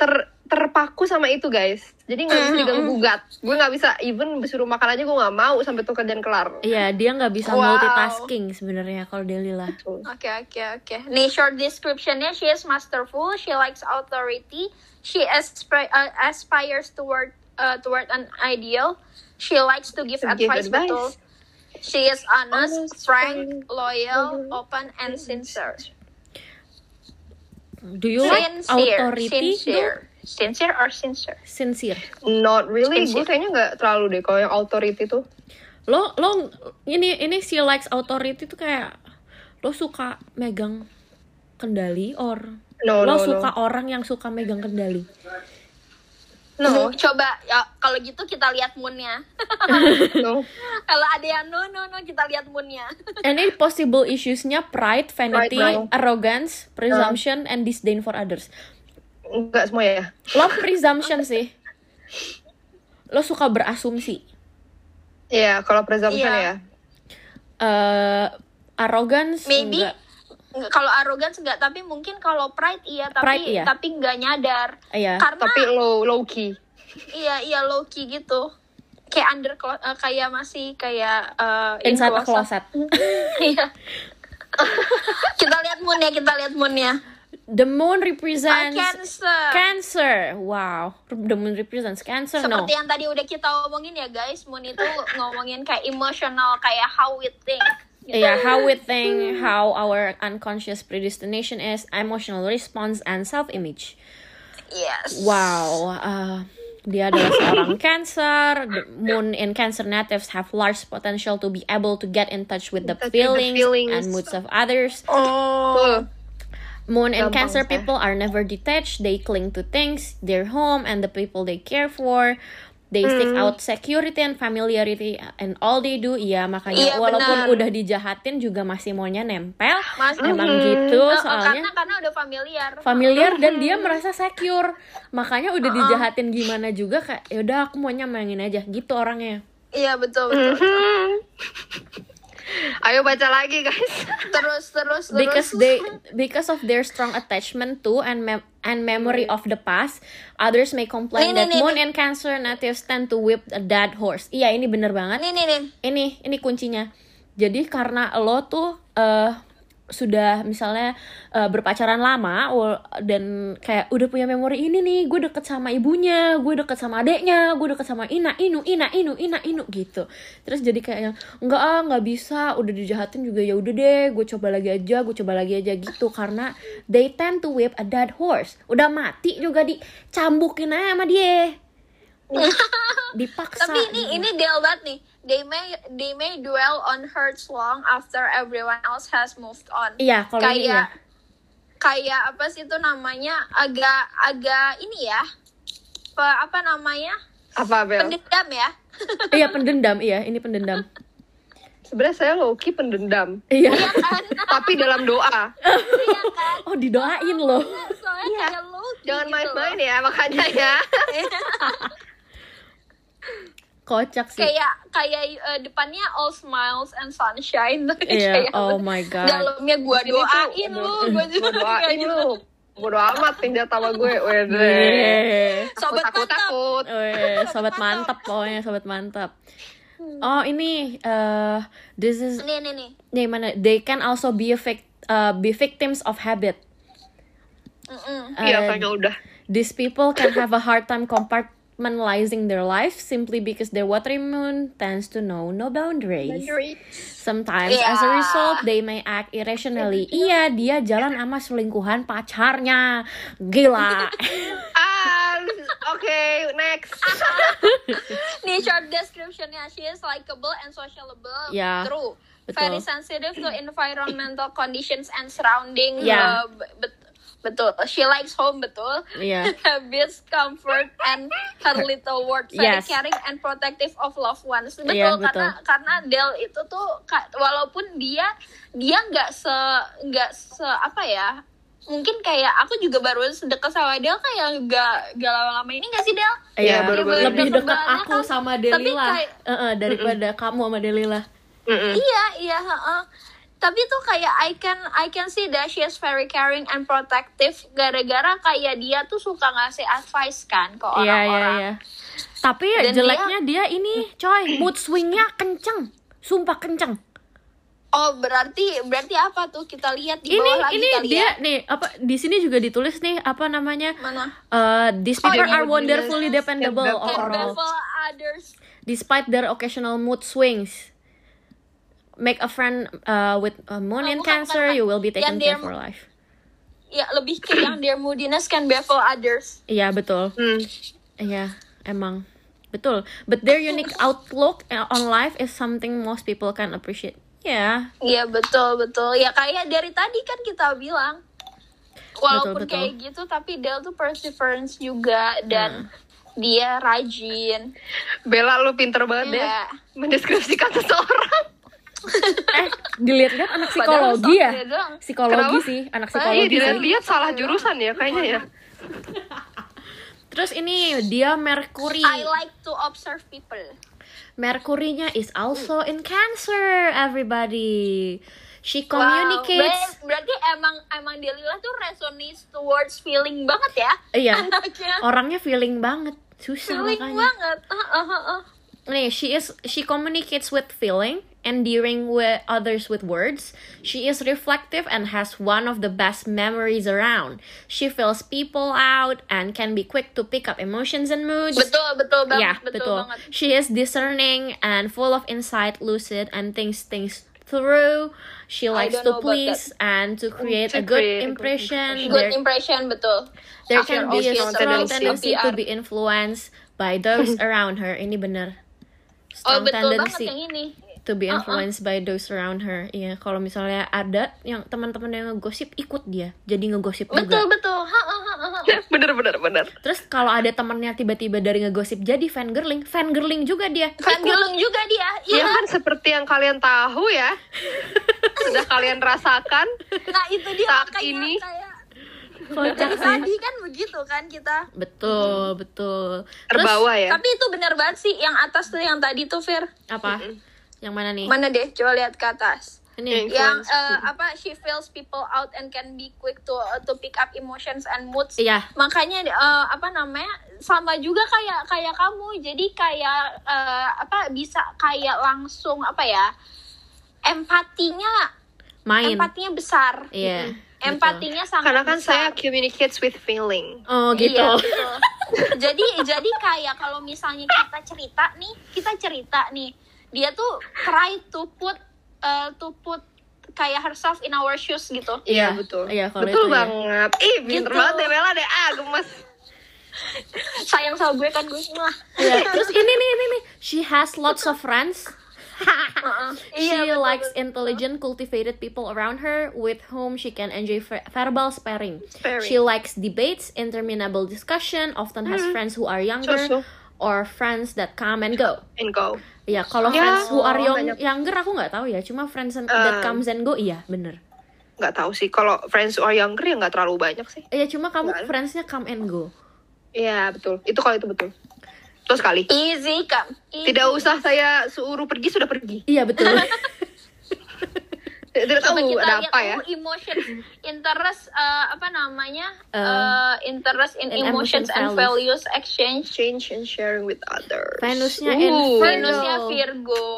ter- terpaku sama itu guys. Jadi nggak bisa diganggu gugat. Gue nggak bisa even disuruh makan aja gue nggak mau sampai tuh kerjaan kelar.
Iya, dia nggak bisa
Wow.
multitasking sebenarnya kalau Delila.
Oke, oke, oke. Nih short description-nya, she is masterful, she likes authority, she aspir- uh, aspires toward uh, toward an ideal, she likes to give
To give
advice,
advice.
betul. She is honest,
Honest,
frank, loyal, open, and sincere.
Do you like
Sincere,
authority?
sincere. Sincere or sincere?
Do? Sincere.
Not really. Gue
Sincere.
kayaknya nggak terlalu deh kalau yang authority tuh.
Lo lo ini ini she likes authority tuh kayak lo suka megang kendali or
No,
lo
no,
suka orang yang suka megang kendali.
No, coba ya, kalau gitu kita lihat moon-nya.
no. no.
kalau ada yang no, no, no, kita lihat moon-nya.
And then possible issues-nya pride, vanity,
Pride, pride.
arrogance,
Uh.
presumption, and disdain for others.
Nggak semua ya.
Lo presumption sih. Lo suka berasumsi.
Iya, kalau presumption
Iya.
ya.
eh arrogance
Maybe
enggak.
nggak- kalau arrogance enggak, tapi mungkin kalau pride iya, tapi
Pride iya.
tapi nggak nyadar.
Iya.
Karena
Tapi low low key.
iya iya low key gitu. Kayak under clo- eh, kayak masih kayak eh, in
Inside a closet.
closet. Iya. kita lihat moon ya, kita lihat moon-nya.
The moon
Ah,
represents
Cancer.
cancer. Wow. The moon represents cancer. no.
Seperti yang tadi udah kita omongin ya guys, moon itu ngomongin kayak emotional, kayak how we think.
yeah, Iya, how we think, how our unconscious predestination is, emotional response, and self-image.
Yes.
Wow, uh, dia adalah seorang Cancer. The moon in Cancer natives have large potential to be able to get in touch with the
Touch with the
feelings,
feelings.
and moods of others.
Oh.
Betul.
Moon and
Gampang
Cancer
sih.
people are never detached. They cling to things, their home, and the people they care for. They
Hmm.
seek out security and familiarity uh, and all they do. Iya, makanya
Iya,
walaupun
benar.
udah dijahatin juga masih maunya nempel.
Mas,
Emang
Hmm.
gitu
eh, eh,
soalnya
karena karena udah familiar.
familiar dan dia merasa secure makanya udah dijahatin gimana juga kayak yaudah aku mau nyamain aja gitu orangnya
Iya betul betul. betul.
Ayo baca lagi guys.
terus terus terus
because they because of their strong attachment to and mem- and memory of the past others may complain
Nih,
that
nih, nih,
moon and cancer natives tend to whip a dead horse iya ini bener banget
nih nih nih
ini ini kuncinya jadi karena lo tuh eh sudah misalnya eh, berpacaran lama wal- dan kayak udah punya memori ini nih gue deket sama ibunya gue deket sama adeknya gue deket sama ina inu ina inu ina inu gitu terus jadi kayak yang, enggak ah nggak bisa udah dijahatin juga ya udah deh gue coba lagi aja gue coba lagi aja gitu karena they tend to whip a dead horse udah mati juga dicambukin aja sama dia dipaksa
tapi ini ini deal banget nih they may they may dwell on hurts long after everyone else has moved on
iya kalau ini
kayak-
ya
kayak apa sih itu namanya agak agak ini ya apa, apa namanya
Apa Bel?
pendendam ya
iya pendendam iya ini pendendam
Sebenarnya saya low key pendendam,
iya
tapi dalam doa.
oh didoain loh
soalnya
Iya.
kayak lu
Jangan
gitu loh. Iya.
main-main ya makanya ya.
kocak sih
kayak kayak eh, depannya all smiles and sunshine tapi
iya
kayak
oh my god
dalamnya gua
Ini tuh,
doain lu gua juga
Gua doain
kayak gitu.
lu. Bodo amat pindah sama gue. Wede.
Weh.
Sobat
takut takut.
Weh, sobat mantap pokoknya sobat mantap oh ini eh this is
nih nih nih
nih mana they can also be a vic- uh, be victims of habit Eh,
Mm-mm.
Uh,
Iya, kayaknya udah.
these people can have a hard time compart compartmentalizing their life simply because their watery moon tends to know no boundaries. Sometimes as a
Yeah.
result they may act irrationally. Iya, dia jalan sama selingkuhan pacarnya. Gila.
Ah, oke, next.
Nih short descriptionnya she is likable and sociable.
Ya,
True.
betul.
Very sensitive to environmental conditions and surrounding.
Ya.
Uh, bet- betul. She likes home betul.
Iya.
Habits, comfort, and her little world. Very
Yes.
caring and protective of loved ones. Betul,
Iya,
karena karena Del itu tuh ka- walaupun dia dia nggak se nggak se apa ya mungkin kayak aku juga baru sedekat sama Del kayak nggak nggak lama-lama ini nggak sih Del?
Iya,
Iya, baru-baru
lebih
ini.
dekat
Kembarannya
aku
kan,
sama
tapi
Delila
kayak-
Eh, eh, daripada kamu sama Delila. Hmm.
Mm-mm.
Iya, iya, heeh. Tapi tuh kayak I can I can see that she is very caring and protective gara-gara kayak dia tuh suka ngasih advice kan ke
Iya, iya,
orang-orang.
iya. Tapi ya
Dan
jeleknya dia, ini, coy, mood swingnya kenceng. Sumpah kenceng.
Oh, berarti berarti apa tuh kita lihat
Ini
di bawah lagi
ini
kali
dia
ya?
nih apa di sini juga ditulis nih apa namanya?
Mana?
Uh, these people
iya,
are wonderfully
goodness,
dependable
can
Can
overall,
baffle others.
despite their occasional mood swings. Make a friend uh, with a moon
Oh,
in
bukan,
Cancer,
bukan.
you will be taken
Yang
care
dia-
for life.
Ya, lebih ke yang their moodiness can baffle others.
Iya betul.
Hmm.
Iya, emang. Betul. But their unique outlook eh, on life is something most people can appreciate. Ya,
Iya, betul, betul. Ya kayak dari tadi kan kita bilang walaupun
betul.
kayak gitu tapi Del tuh perseverance juga
Hmm.
dan dia rajin.
Bella lu pinter banget deh
Iya.
mendeskripsikan seseorang.
eh dilihat-lihat anak
Padahal
psikologi ya.
software doang.
Psikologi
Kenapa?
sih, anak
Iya,
psikologi sih.
dilihat salah jurusan ya kayaknya ya.
Terus ini dia Mercury.
I like to observe people.
Mercury-nya is also in Cancer, everybody. She
Wow,
communicates.
ber- berarti emang emang Delila tuh resonates towards feeling banget ya.
Iya.
Anaknya
Orangnya feeling banget, susah
feeling
makanya.
banget. Ah, ah, ah, ah.
Nih, she is she communicates with feeling, endearing with others with words. She is reflective and has one of the best memories around. She feels people out and can be quick to pick up emotions and moods.
Betul betul banget.
yeah,
betul, banget.
She is discerning and full of insight, lucid, and thinks things through. She likes to
don't know about Mm,
please and to create
to
a good
create a good
impression.
Good
There-
impression betul.
there
After
can be
all,
a
she is
strong
surrounded by
tendency to
PR.
be influenced by those around her. Ini bener.
Oh
Strong
betul banget
tendency
Uh-uh. yang ini.
to be influenced by those around her. Iya, kalau misalnya ada yang teman-teman yang ngegosip ikut dia, jadi ngegosip
Betul
juga.
betul. Ha, ha, ha, ha, ha.
bener bener bener.
Terus kalau ada temennya tiba-tiba dari ngegosip jadi fangirling, fangirling juga dia.
Fan
Ikut.
gelung juga dia.
Ya
Iya.
kan seperti yang kalian tahu ya. Sudah kalian rasakan.
Nah itu dia
Saat
makanya
ini.
kayak
Kocak
dari
sih.
tadi kan begitu kan kita.
Betul, betul. Terus
Terbawa ya.
Tapi itu benar banget sih yang atas tuh yang tadi tuh Fir.
apa? Yang mana nih?
Mana deh? Coba lihat ke atas.
Ini.
yang eh, apa she feels people out and can be quick to to pick up emotions and moods
Iya.
makanya eh, apa namanya sama juga kayak kayak kamu jadi kayak eh, apa bisa kayak langsung apa ya empatinya
Main.
empatinya besar Gitu.
Iya. betul.
empatinya sangat
Karena kan
besar.
saya communicates with feeling.
Oh, gitu.
Iya, betul. jadi jadi kayak kalau misalnya kita cerita nih, kita cerita nih, dia tuh try to put eh, to put kayak herself in our shoes gitu.
Iya,
betul.
Iya, kalau itu ya.
betul banget. Ih, pinter
Gitu.
banget deh Bella deh. Ah, gemes.
Sayang sama gue kan gue semua.
Iya. Terus ini nih, ini nih. She has lots of friends. She
Iya,
Iya, betul,
likes
betul.
intelligent, cultivated people around her with whom she can enjoy ver- verbal sparring.
Sparring.
She likes debates, interminable discussion, often has
Mm-hmm.
friends who are younger
Sure, sure.
or friends that come and go.
And go.
Ya, kalau
Ya,
friends who are young,
banyak.
younger aku nggak tahu ya, cuma friends and-
Eh.
that comes and go iya, bener.
Nggak tahu sih. Kalau friends or younger ya nggak terlalu banyak sih.
Iya, cuma kamu
Nggak ada.
friendsnya come and go.
Iya, betul. Itu kalau itu betul. Terus sekali.
Easy come. Easy.
Tidak usah saya suruh pergi, sudah pergi.
Iya, betul.
Tidak
Coba
tahu
kita
ada
lihat
apa ya.
oh, emotion, interest, eh, apa namanya,
Eh,
Eh, interest in
in
emotions
emotion
and values exchange.
Change and sharing with others.
Venusnya in
uh,
Virgo.
Venusnya Virgo.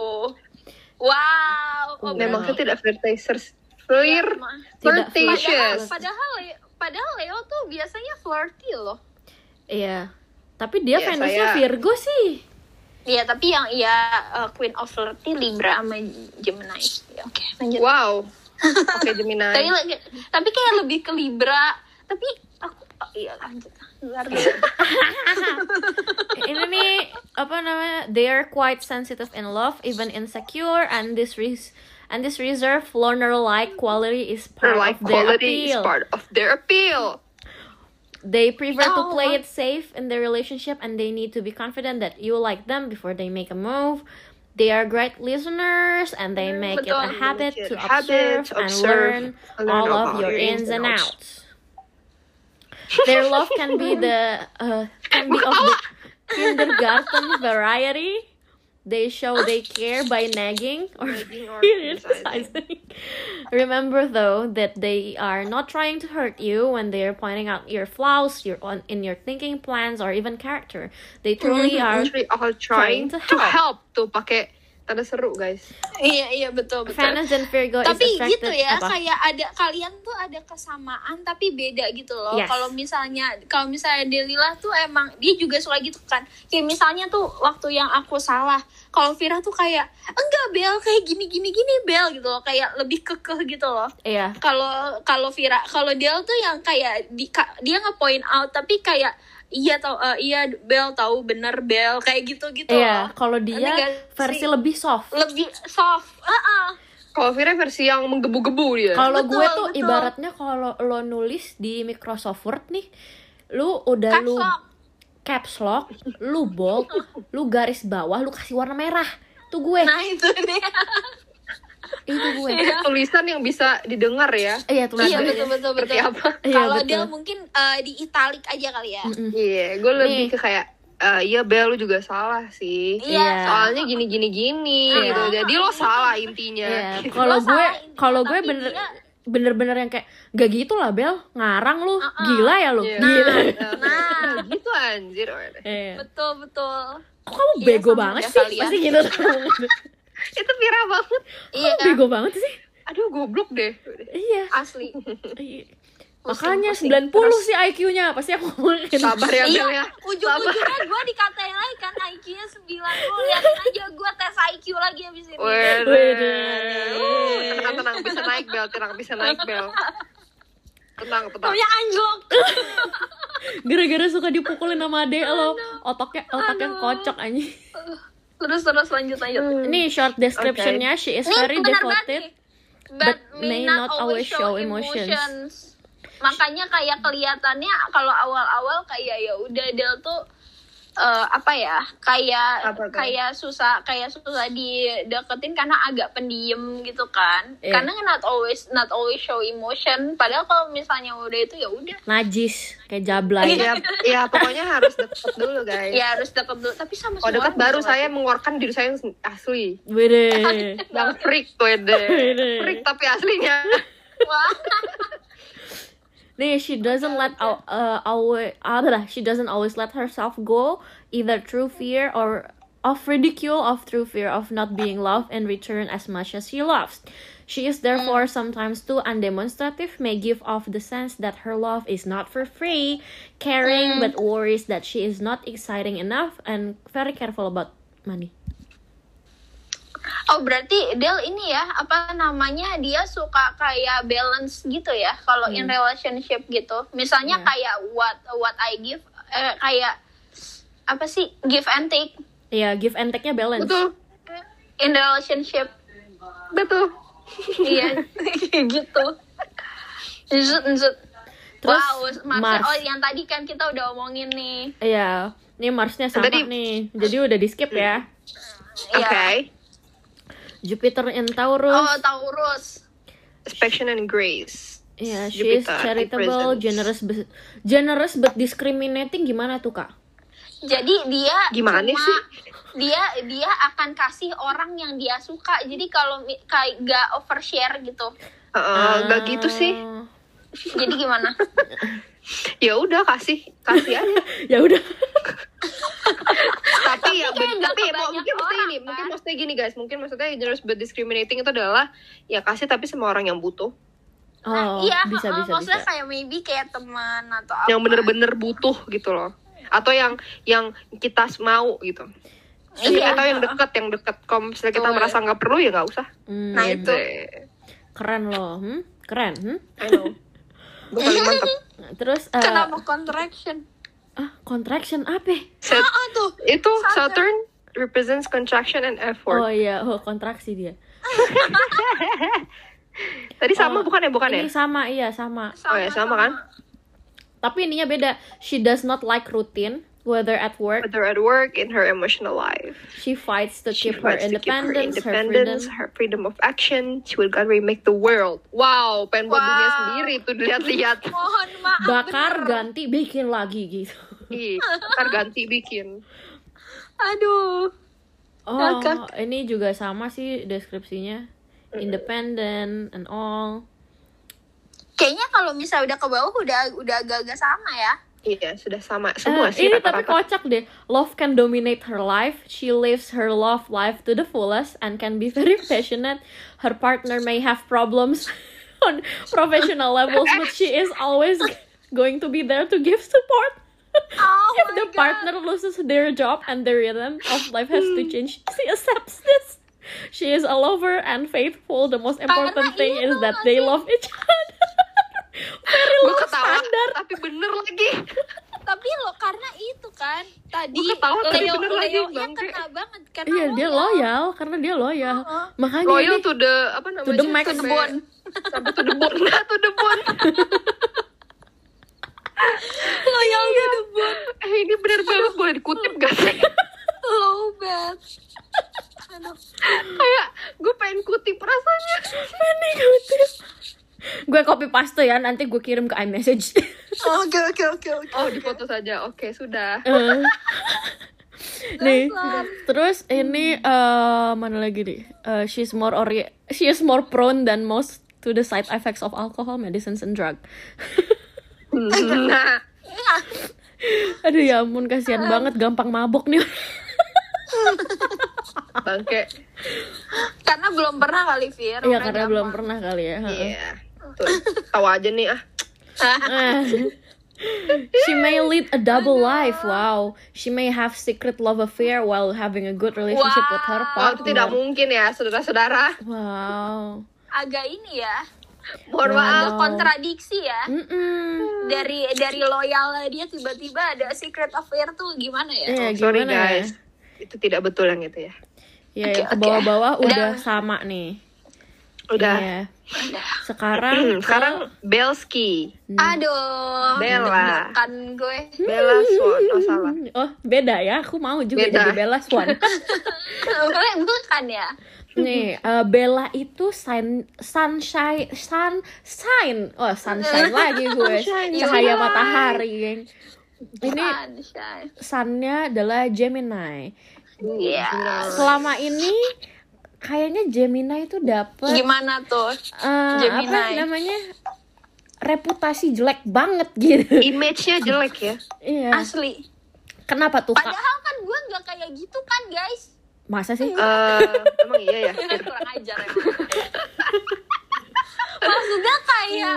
Wow. Oh,
Memang
Wow.
saya tidak flirtatious.
Iya,
Flirt,
Ma.
flirtatious.
flirtatious.
Padahal, padahal, Le- padahal Leo tuh biasanya flirty loh.
Iya. Tapi dia
Ya,
Venusnya
saya-
Virgo sih.
Iya, tapi yang iya uh, Queen of Flirty Libra sama Gemini. Ya, Oke, lanjut.
Wow. Oke Gemini.
Tapi lagi- tapi kayak lebih ke Libra. Tapi aku oh, iya lanjut. Luar biasa.
Ini nih apa namanya? They are quite sensitive in love, even insecure, and this res and this reserve loner-like quality is part
Her life
of their
quality is
appeal.
part of their appeal.
They prefer to
Oh.
play it safe in their relationship and they need to be confident that you like them before they make a move. They are great listeners and
Mm,
they make it a
betul.
habit
Make it
to
a habit,
observe, and
observe,
learn,
learn
all
about
of your ins and outs. Their love can be the uh, can be of the kindergarten variety. They show they care by nagging or criticizing. Remember though that they are not trying to hurt you when they are pointing out your flaws, your on in your thinking, plans, or even character. They truly are
Actually, all trying to
to
help.
help.
Tuh pakai tanda seru guys.
iya, iya betul betul.
Venus dan Virgo
tapi
is attracted
gitu ya
apa?
kayak ada kalian tuh ada kesamaan tapi beda gitu loh
Yes.
kalau misalnya kalau misalnya Delila tuh emang dia juga suka gitu kan kayak misalnya tuh waktu yang aku salah kalau Vira tuh kayak enggak Bel kayak gini gini gini Bel gitu loh kayak lebih kekeh gitu loh
Iya.
kalau kalau Vira kalau Del tuh yang kayak di, ka- dia nge-point out tapi kayak iya tau eh, iya Bel tahu bener Bel kayak gitu gitu
Iya,
loh
kalau dia
nggak
versi
sih?
lebih soft.
lebih soft Heeh.
Kalau Vira versi yang menggebu-gebu dia.
Kalau
Betul,
gue tuh
betul.
ibaratnya kalau lo nulis di Microsoft Word nih, lu udah
Caps
lu
lock.
caps lock, lu bold, lu garis bawah, lu kasih warna merah. Tuh gue,
nah itu dia
itu gue.
Iya.
Tulisan yang bisa didengar ya.
Iya, tuh
iya betul betul
Seperti
betul
apa?
Iya,
kalau
betul.
Del mungkin eh, di italik aja kali ya
Iya, gue lebih
Nih.
ke kayak eh, iya Bel lu juga salah sih.
Iya.
Soalnya gini gini gini
Iya.
gitu. Jadi lo salah intinya.
Iya,
Gitu.
kalau
Lo
gue
salah intinya,
kalau gue
tapi
bener
dia-
bener-bener yang kayak gak gitu lah Bel, ngarang lu,
Uh-uh.
gila ya lu.
Iya.
Gila.
Nah, gitu anjir.
Iya.
betul betul
Kok kamu
Iya,
bego
sama
banget
aja
sih?
kali ya.
Pasti gitu.
Itu Vira banget.
iya
bego banget sih.
Aduh, goblok deh.
Iya.
asli
Iya. Makanya
pusing.
90 sih IQ-nya pasti aku ngomongin.
Sabar ya Bel
iya
ya.
ujung-ujungnya gue dikatain lagi kan IQ-nya 9 Lu liatin aja gue tes IQ lagi abis ini
Wede.
Wede.
Uh, Tenang, tenang, bisa naik Bel, tenang, bisa naik Bel. Tenang, tenang.
punya anjlok
Gara-gara suka dipukulin sama adek lo, otaknya otaknya kocok anjing.
terus terus lanjut lanjut
Nih short description-nya she is
Ini
very
benar banget
devoted.
nih.
but
but, may not always show emotions. Makanya kayak kelihatannya kalau awal-awal kayak ya udah Del tuh eh, apa ya kayak
Apa tuh?
kayak susah kayak susah dideketin karena agak pendiem gitu kan
Iya.
karena not always not always show emotion padahal kalau misalnya udah itu ya udah
Najis kayak jablay.
Iya.
Ya, ya, pokoknya harus deket dulu guys.
ya harus deket dulu tapi sama
Kalau Oh, deket
orang
baru
bisa
saya mengeluarkan diri saya yang sen- asli.
Iya.
Wede.
Bang freak wede.
Wede.
Freak tapi aslinya.
ngerti. Wah.
Nih, she doesn't let al- uh, always uh, she doesn't always let herself go either through fear or of ridicule of through fear of not being loved in return as much as she loves. She is therefore
Mm.
sometimes too undemonstrative, may give off the sense that her love is not for free,
Mm.
caring but worries that she is not exciting enough and very careful about money.
Oh berarti Del ini ya apa namanya dia suka kayak balance gitu ya kalau in relationship gitu. Misalnya
Hmm. Iya.
kayak what what I give eh, kayak apa sih give and take
Yeah, Iya, give and take-nya balance.
Betul,
in relationship.
betul.
Iya gitu. Zut, zut.
Terus,
wow, Marsnya-
Mars.
oh yang tadi kan kita udah omongin nih.
Iya. Nih Marsnya sama
Tadi-
nih. Jadi udah di skip ya.
Oke.
Iya.
Jupiter in Taurus.
Oh Taurus.
Affection and grace.
Iya, she is
Jupiter
charitable,
represents-
generous, be- generous but discriminating gimana tuh kak?
Jadi dia
Gimana
cuma-
sih?
Dia dia akan kasih orang yang dia suka. Jadi kalau mi- kayak gak overshare gitu.
Heeh, nggak gitu
Ah.
sih.
Jadi gimana?
Ya udah kasih, kasih aja.
ya udah.
tapi ya
kayak
ben-
nggak
tapi ya, mau-
kebanyak
mungkin maksudnya
orang,
ini
kan?
mungkin maksudnya gini guys mungkin maksudnya generous but discriminating itu adalah ya kasih tapi semua orang yang butuh
Oh,
Nah, iya,
bisa
heeh,
bisa
maksudnya
kan-
bisa.
kayak maybe kayak teman atau apa.
yang bener-bener butuh gitu loh atau yang yang kita mau gitu jadi
Iya.
atau yang deket yang deket kalau misalnya kita
Betul.
merasa nggak perlu ya nggak usah
Hmm,
Nah,
gitu
itu.
keren loh hmm? keren hmm?
I know Itu paling mantep
terus eh,
Kenapa contraction?
ah contraction apa ya?
Ah tuh.
itu
Saturn.
Saturn represents contraction and
oh
effort
iya oh kontraksi dia
tadi sama
Oh,
bukan ya bukan ya
ini sama iya sama
Oh ya, sama kan?
tapi ininya beda she does not like routine whether at work
Whether at work in her emotional life
she fights to,
she
keep, her
fights to keep her
independence, her
independence
freedom
her freedom of action she will God remake the world wow pengen buat dunia
Wow.
sendiri tuh dilihat-lihat
Mohon maaf.
bakar
Ah, bener.
ganti bikin lagi gitu
Ih, ntar ganti bikin
Aduh.
oh
Ngakak.
ini juga sama sih deskripsinya independent and all
Kayaknya kalau misal udah ke bawah udah udah agak-agak sama ya.
iya sudah sama
Eh,
semua sih
ini tapi
rata-rata.
kocak deh. Love can dominate her life. She lives her love life to the fullest and can be very passionate. Her partner may have problems on professional levels, but she is always going to be there to give support.
Oh
If
my
the
God.
partner loses their job and the rhythm of life has
Hmm.
to change, she accepts this. She is a lover and faithful. The most important thing
iya
is
tau
that
gak
they
sih?
love each other. very
Gua
low
ketawa
standard.
tapi bener lagi
Tapi lo karena itu kan tadi
Gua ketawa, tapi
Leo
bener
Leo
lagi,
nya
Bang.
kena banget karena
Iya, dia loyal karena dia loyal.
Heeh.
Makanya
loyal
ini-
to the apa namanya
the max.
sampai-
To the bone.
sampai to the bone nah to the bone Iya.
Loyal to the bone.
eh ini bener banget boleh dikutip gak sih
Low banget. Aduh.
kayak gue pengen kutip rasanya
Panik kutip. Gue copy paste ya, nanti gue kirim ke iMessage.
Oke oke oke oke.
oh di foto saja oke sudah
Eh. nih,
Dasar.
terus ini eh, mana lagi nih? Eh, she's more ori she is more prone than most to the side effects of alcohol, medicines and drug. Mm-hmm.
nah
Iya,
Aduh ya ampun kasihan
Ah.
banget gampang mabok nih.
bangke
Karena belum pernah kali
Iya
Fir. Udah
karena
gampang.
belum pernah kali ya. Heeh.
iya tuh tahu aja nih ah
Ah. she may lead a double life. Wow. She may have secret love affair while having a good relationship with her
Wah, itu tidak
partner.
mungkin ya saudara-saudara
Wow.
Agak ini ya.
mohon
Wow.
maaf
Agak kontradiksi ya.
Mm-mm.
Dari dari loyal dia tiba-tiba ada secret affair tuh gimana ya?
Eh,
sorry
gimana ya?
guys itu tidak betul yang itu ya
Ya,
Oke,
yang ke
oke.
bawah-bawah
Udah.
udah sama nih.
udah Hmm,
Iya. Sekarang
sekarang Belski
Hmm.
Aduh,
Bella.
deg-degan gue.
Bella Swan oh salah
ke- oh, beda ya. Aku mau juga
Beda.
jadi Bella Swan.
Kalian bukan ya?
nih, eh, Bella itu sun sunshine sun sign. Oh, sunshine lagi gue.
Sunshine,
Cahaya
sunshine.
matahari, geng. Ini
Sunshine.
sunnya adalah Gemini. Hmm,
Iya.
Selama ini kayaknya Gemini itu dapet
Gimana tuh?
eh, apa
Gemini.
namanya reputasi jelek banget gitu.
image-nya jelek ya
Iya.
Asli.
Kenapa tuh kak?
Padahal kan gue nggak kayak gitu kan guys.
Masa sih?
Eh, emang iya ya
Kurang ajar emang. Maksudnya kayak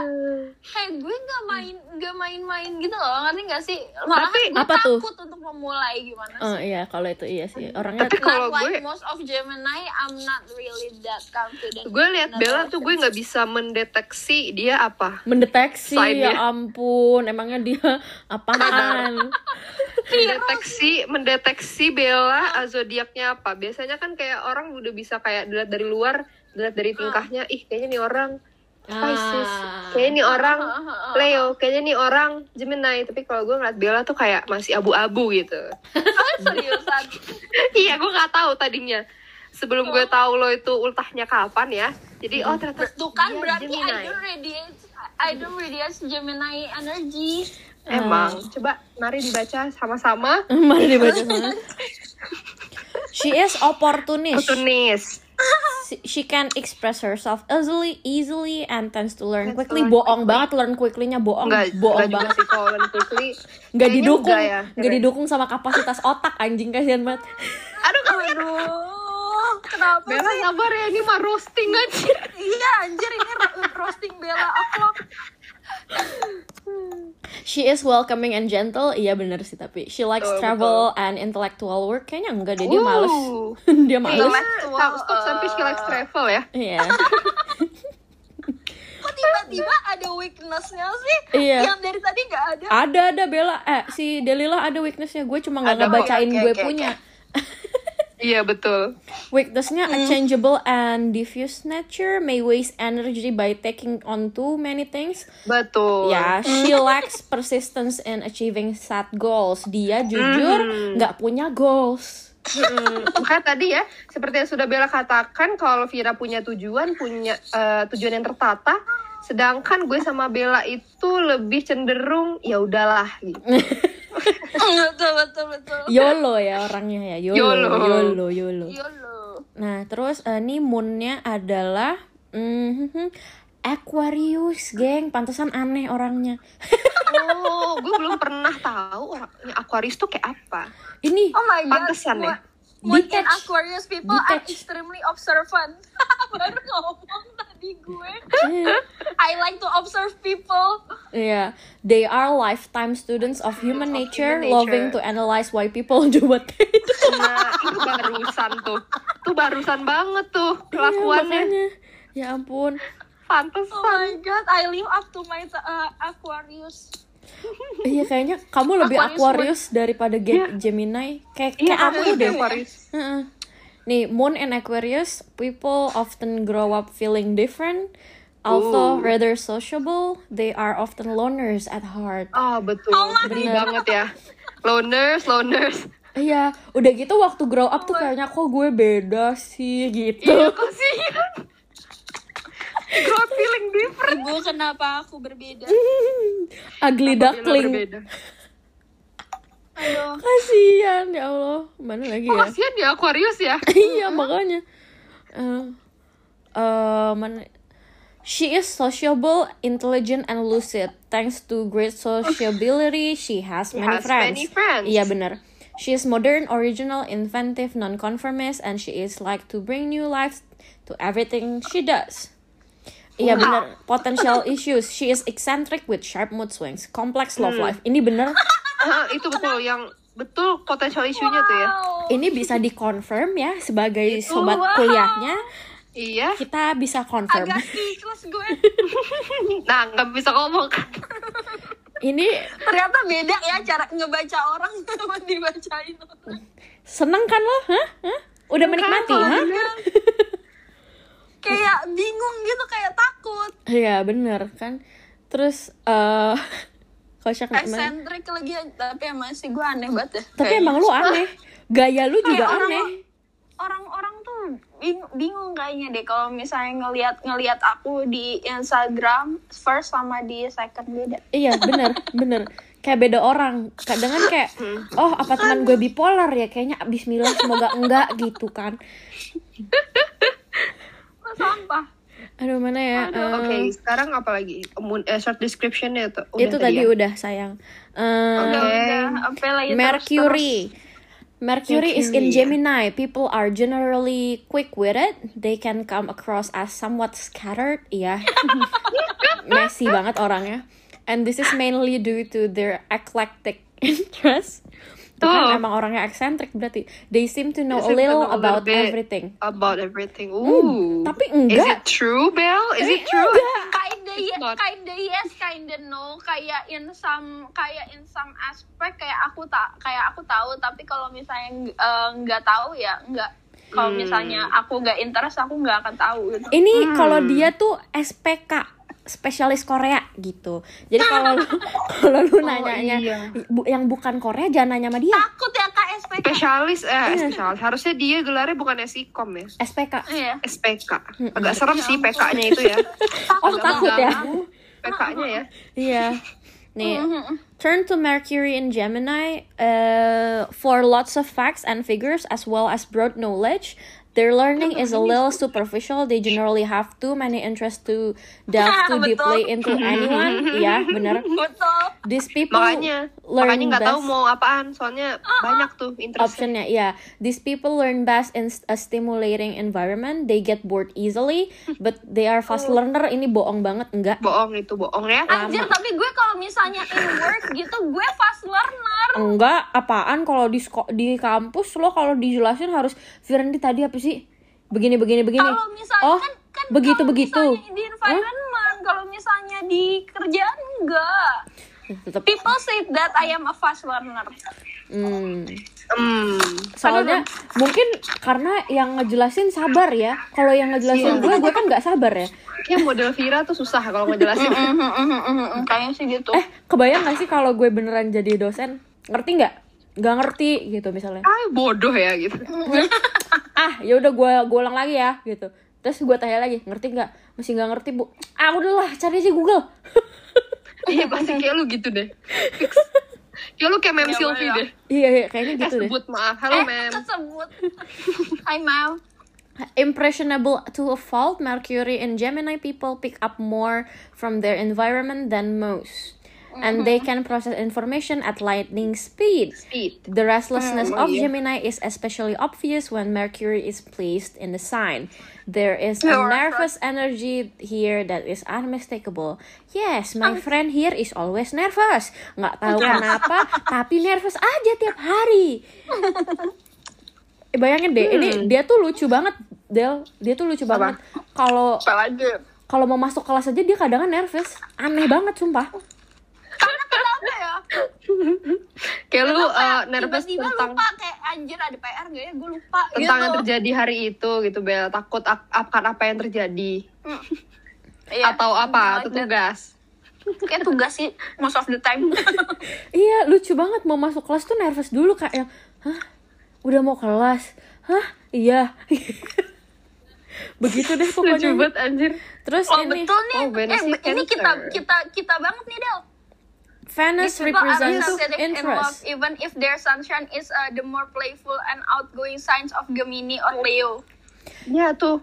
kayak gue nggak main nggak main-main gitu loh ngerti nggak sih? Malah
Tapi
gue
apa tuh?
takut untuk memulai gimana sih?
Oh iya, kalau itu iya sih. Orangnya
Tapi kalau
Not like
gue-
most of Gemini, I'm not really that confident.
gue lihat
Not
Bella
really.
tuh gue nggak bisa mendeteksi dia apa
mendeteksi
Sign-nya.
ya ampun, emangnya dia apaan?
mendeteksi mendeteksi Bella ah, zodiaknya apa biasanya kan kayak orang udah bisa kayak dilihat dari luar dilihat dari
Ah.
tingkahnya ih kayaknya nih orang Pisces
Ah.
kayaknya nih orang
Ah, ah, ah,
Leo kayaknya nih orang Gemini tapi kalau gue ngeliat Bella tuh kayak masih abu-abu gitu
seriusan.
iya gue nggak tahu tadinya sebelum
Oh.
gue tahu lo itu ultahnya kapan ya jadi oh ternyata
Tuh kan
dia
berarti I
Gemini
don't radiate I don't radiate Gemini energy.
emang coba mari dibaca sama-sama
Mari dibaca sana. She is opportunist.
Tunis
She- She can express herself easily, easily, and tends to learn
Tends to
quickly.
learn
bohong banget learn quickly-nya bohong,
Enggak,
bohong
enggak juga
banget.
sih kalau Len Quickly.
Nggak
Kayaknya
didukung,
enggak ya.
nggak didukung sama kapasitas otak anjing kasihan banget.
Aduh, aduh.
Aduh, kenapa
Bella
sih?
sabar ya, ini mah roasting aja.
Iya anjir ini ro- roasting Bella o'clock.
She is welcoming and gentle. Iya bener sih tapi she likes
Betul,
travel and intellectual work. Kayaknya enggak
Uh.
deh dia
Wow.
males. dia males.
Iya.
Stop, stop sampai she likes travel ya.
Iya.
Kok tiba-tiba ada weakness-nya sih?
Iya. Ah.
Yang dari tadi nggak ada.
Ada ada Bella. Eh si Delilah ada weaknessnya. Gue cuma nggak
Ada,
ngebacain
oke,
gue
oke,
punya.
Iya betul.
Weaknessnya
Hmm.
a changeable and diffuse nature may waste energy by taking on too many things.
Betul.
Ya, she lacks persistence in achieving set goals.
Hmm.
Dia jujur nggak punya goals.
Mm, Makanya tadi ya, seperti yang sudah Bella katakan, kalau Vira punya tujuan, punya eh, tujuan yang tertata, sedangkan gue sama Bella itu lebih cenderung ya udahlah gitu.
betul, betul, betul.
YOLO ya orangnya ya. YOLO,
YOLO.
YOLO, YOLO.
Iya YOLO.
Nah, terus eh, ini moonnya adalah mhm, Aquarius, geng. Pantesan aneh orangnya.
Oh, gue belum pernah tahu orangnya Aquarius tuh kayak apa.
Ini
Oh my god.
Pantesan ya?
Moon in
Detach.
Aquarius people are
Detach.
extremely observant. Baru ngomong tadi gue.
eh,
I like to observe people.
Iya, they are lifetime students of human
Of human
nature,
nature.
loving to analyze why people do what they do.
Nah, itu barusan tuh. Tuh barusan banget tuh
Iya,
kelakuannya.
makanya. Ya ampun.
Oh
Pantesan.
my god, I live up to my uh, Aquarius.
Iya kayaknya kamu lebih Aquarius
Aquarius
daripada Ge- Gemini. Kayak
Iya,
kayak aku
aku
deh.
deh Aquarius.
Heeh. Nih, Moon and Aquarius people often grow up feeling different, although
Ooh.
rather sociable, they are often loners at heart.
Oh, betul. Beri
Bener.
banget ya. Loners, loners.
Iya, udah gitu waktu grow up tuh kayaknya kok gue beda sih
Iya,
gitu.
Kasihan. Gue feeling different.
Ibu, kenapa aku berbeda?
Iya. Ugly duckling.
Iya, Berbeda.
Aduh.
Kasihan ya Allah. Mana lagi ya?
Kasihan ya Aquarius ya.
iya makanya eh eh, mana She is sociable, intelligent, and lucid. Thanks to great sociability, she has many
has
friends.
many friends.
Iya benar. She is modern, original, inventive, non-conformist, and she is like to bring new life to everything she does. Iya benar. Potential issues. She is eccentric with sharp mood swings, complex love life. Ini benar.
Ah, itu betul yang betul potensial isunya tuh ya.
Wow.
Ini bisa dikonfirm ya sebagai
Itu,
sobat
wow.
kuliahnya.
Iya.
kita bisa confirm
Agak speechless gue.
Nah, nggak bisa ngomong.
ini
Ternyata beda ya cara ngebaca orang sama dibacain orang.
seneng kan lo Hah? Hah? udah menikmati
kan
hah?
Kayak bingung gitu, kayak takut.
iya bener kan terus eh kocak nggak, Man?
Eksentrik lagi, tapi emang sih gue aneh banget ya.
tapi
Kayaknya.
emang lu
gitu.
aneh gaya lu juga
orang-
aneh
orang-orang tuh bing- bingung kayaknya deh kalau misalnya ngelihat ngelihat aku di Instagram first sama di second beda.
iya bener bener kayak beda orang kadang kan kayak oh apa
Kan.
teman gue bipolar ya kayaknya Bismillah semoga enggak gitu kan
Wah, Sampah.
aduh mana ya
Aduh, Oke,
eh,
sekarang apa lagi? Moon, eh, short description-nya tuh. udah
itu tadi
ya?
udah sayang Eh,
Udah
Oke.
udah apa lagi terus-
Mercury. Mercury is in
Iya, Mercury, ya.
Gemini. People are generally quick-witted. They can come across as somewhat scattered. Iya. Messy banget orangnya. And this is mainly due to their eclectic interests. Tuh kan
Oh.
emang orangnya eksentrik berarti. They seem to know a
They seem to
little
know a
about
little bit.
everything.
About everything. Ooh.
Hmm, Tapi
Is
enggak.
it true, Bel? Is it true?
terus. Kinda yes,
Not-
kinda yes, kinda no. Kayak in some, kayak in some aspect kayak aku tak, kayak aku tahu. Tapi kalau misalnya eh, nggak tahu ya nggak. Kalau
Hmm.
misalnya aku nggak interest, aku nggak akan tahu. Gitu.
Ini
Hmm.
kalau dia tuh SPK spesialis Korea gitu. Jadi kalau lu- kalau lu nanyanya
iya.
bu- yang bukan Korea jangan nanya sama dia.
Takut ya KSPK.
Spesialis, eh,
Iya.
spesialis. Harusnya dia gelarnya bukan SIKOM ya.
SPK.
Iya.
SPK. Agak serem sih PK-nya itu ya.
Oh, takut ya.
PK-nya ya.
Iya. Nih,
Hmm,
turn to Mercury in Gemini uh, for lots of facts and figures as well as broad knowledge. Their learning is a little superficial. They generally have too many interests to delve too
Betul.
deeply into anyone. Iya, bener.
betul
These people
makanya
learn
makanya nggak tahu
Oh, best-
mau apaan soalnya
Oh,
banyak tuh interestnya
optionnya ya these people learn best in a stimulating environment they get bored easily but they are fast learner ini bohong banget enggak
bohong itu bohong ya
Ah.
anjir tapi gue kalau misalnya in work gitu gue fast learner
enggak apaan kalau di sko- di kampus lo kalau dijelasin harus Firandi tadi apa sih begini begini begini
kalau misalnya
oh
kan kan
begitu
kalau
begitu
misalnya di environment kalau misalnya di kerjaan enggak
tetap
people say that I am a fast learner
hmm.
hmm.
soalnya mungkin karena yang ngejelasin sabar ya kalau yang
Iya.
ngejelasin gue gue kan nggak sabar ya
kayak model Vira tuh susah kalau ngejelasin
Uhuh, kayaknya sih gitu
eh kebayang gak sih kalau gue beneran jadi dosen ngerti nggak nggak ngerti gitu misalnya
ah bodoh ya gitu
ah ya udah gue gue ulang lagi ya gitu terus gue tanya lagi ngerti nggak masih nggak ngerti bu ah udahlah cari aja Google
iya pasti kayak lu gitu deh Fix. kayak lu kayak mem
Iya,
Silvi
boleh.
deh
iya, iya kayaknya
eh
gitu deh
sebut maaf halo
eh
mem
tersebut Hai Mel
impressionable to a fault Mercury and Gemini people pick up more from their environment than most and they can process information at lightning speed
Speed.
The restlessness of Gemini is especially obvious when Mercury is placed in the sign. There is a
You're
nervous energy here that is unmistakable. Yes, my friend here is always nervous. Nggak tahu kenapa, tapi nervous aja tiap hari. Eh, Bayangin deh, ini dia tuh lucu banget, Del. Dia tuh lucu banget. Kalau
apa lagi
kalau mau masuk kelas aja dia kadang nervous. Aneh banget sumpah.
kenapa ya
kayak lu
Kenapa
eh,
ya?
nervous
tiba-tiba
tentang
lupa kayak anjir ada PR gak ya gue lupa
tentang yang
gitu.
terjadi hari itu gitu Bel takut ak- akan apa yang terjadi
Iya.
atau apa atau
Like that.
tugas
kayak tugas sih most of the time
Iya lucu banget mau masuk kelas tuh nervous dulu kayak yang hah udah mau kelas hah iya begitu deh
lucu
pokoknya
banget anjir
terus
oh
ini
betul nih
Oh, Venus
eh,
sih Cancer.
ini kita kita kita banget nih Del
Venus
People are
represents
sensitive in love,
interest
even if their sunshine is uh, the more playful and outgoing signs of Gemini or Leo.
ya tuh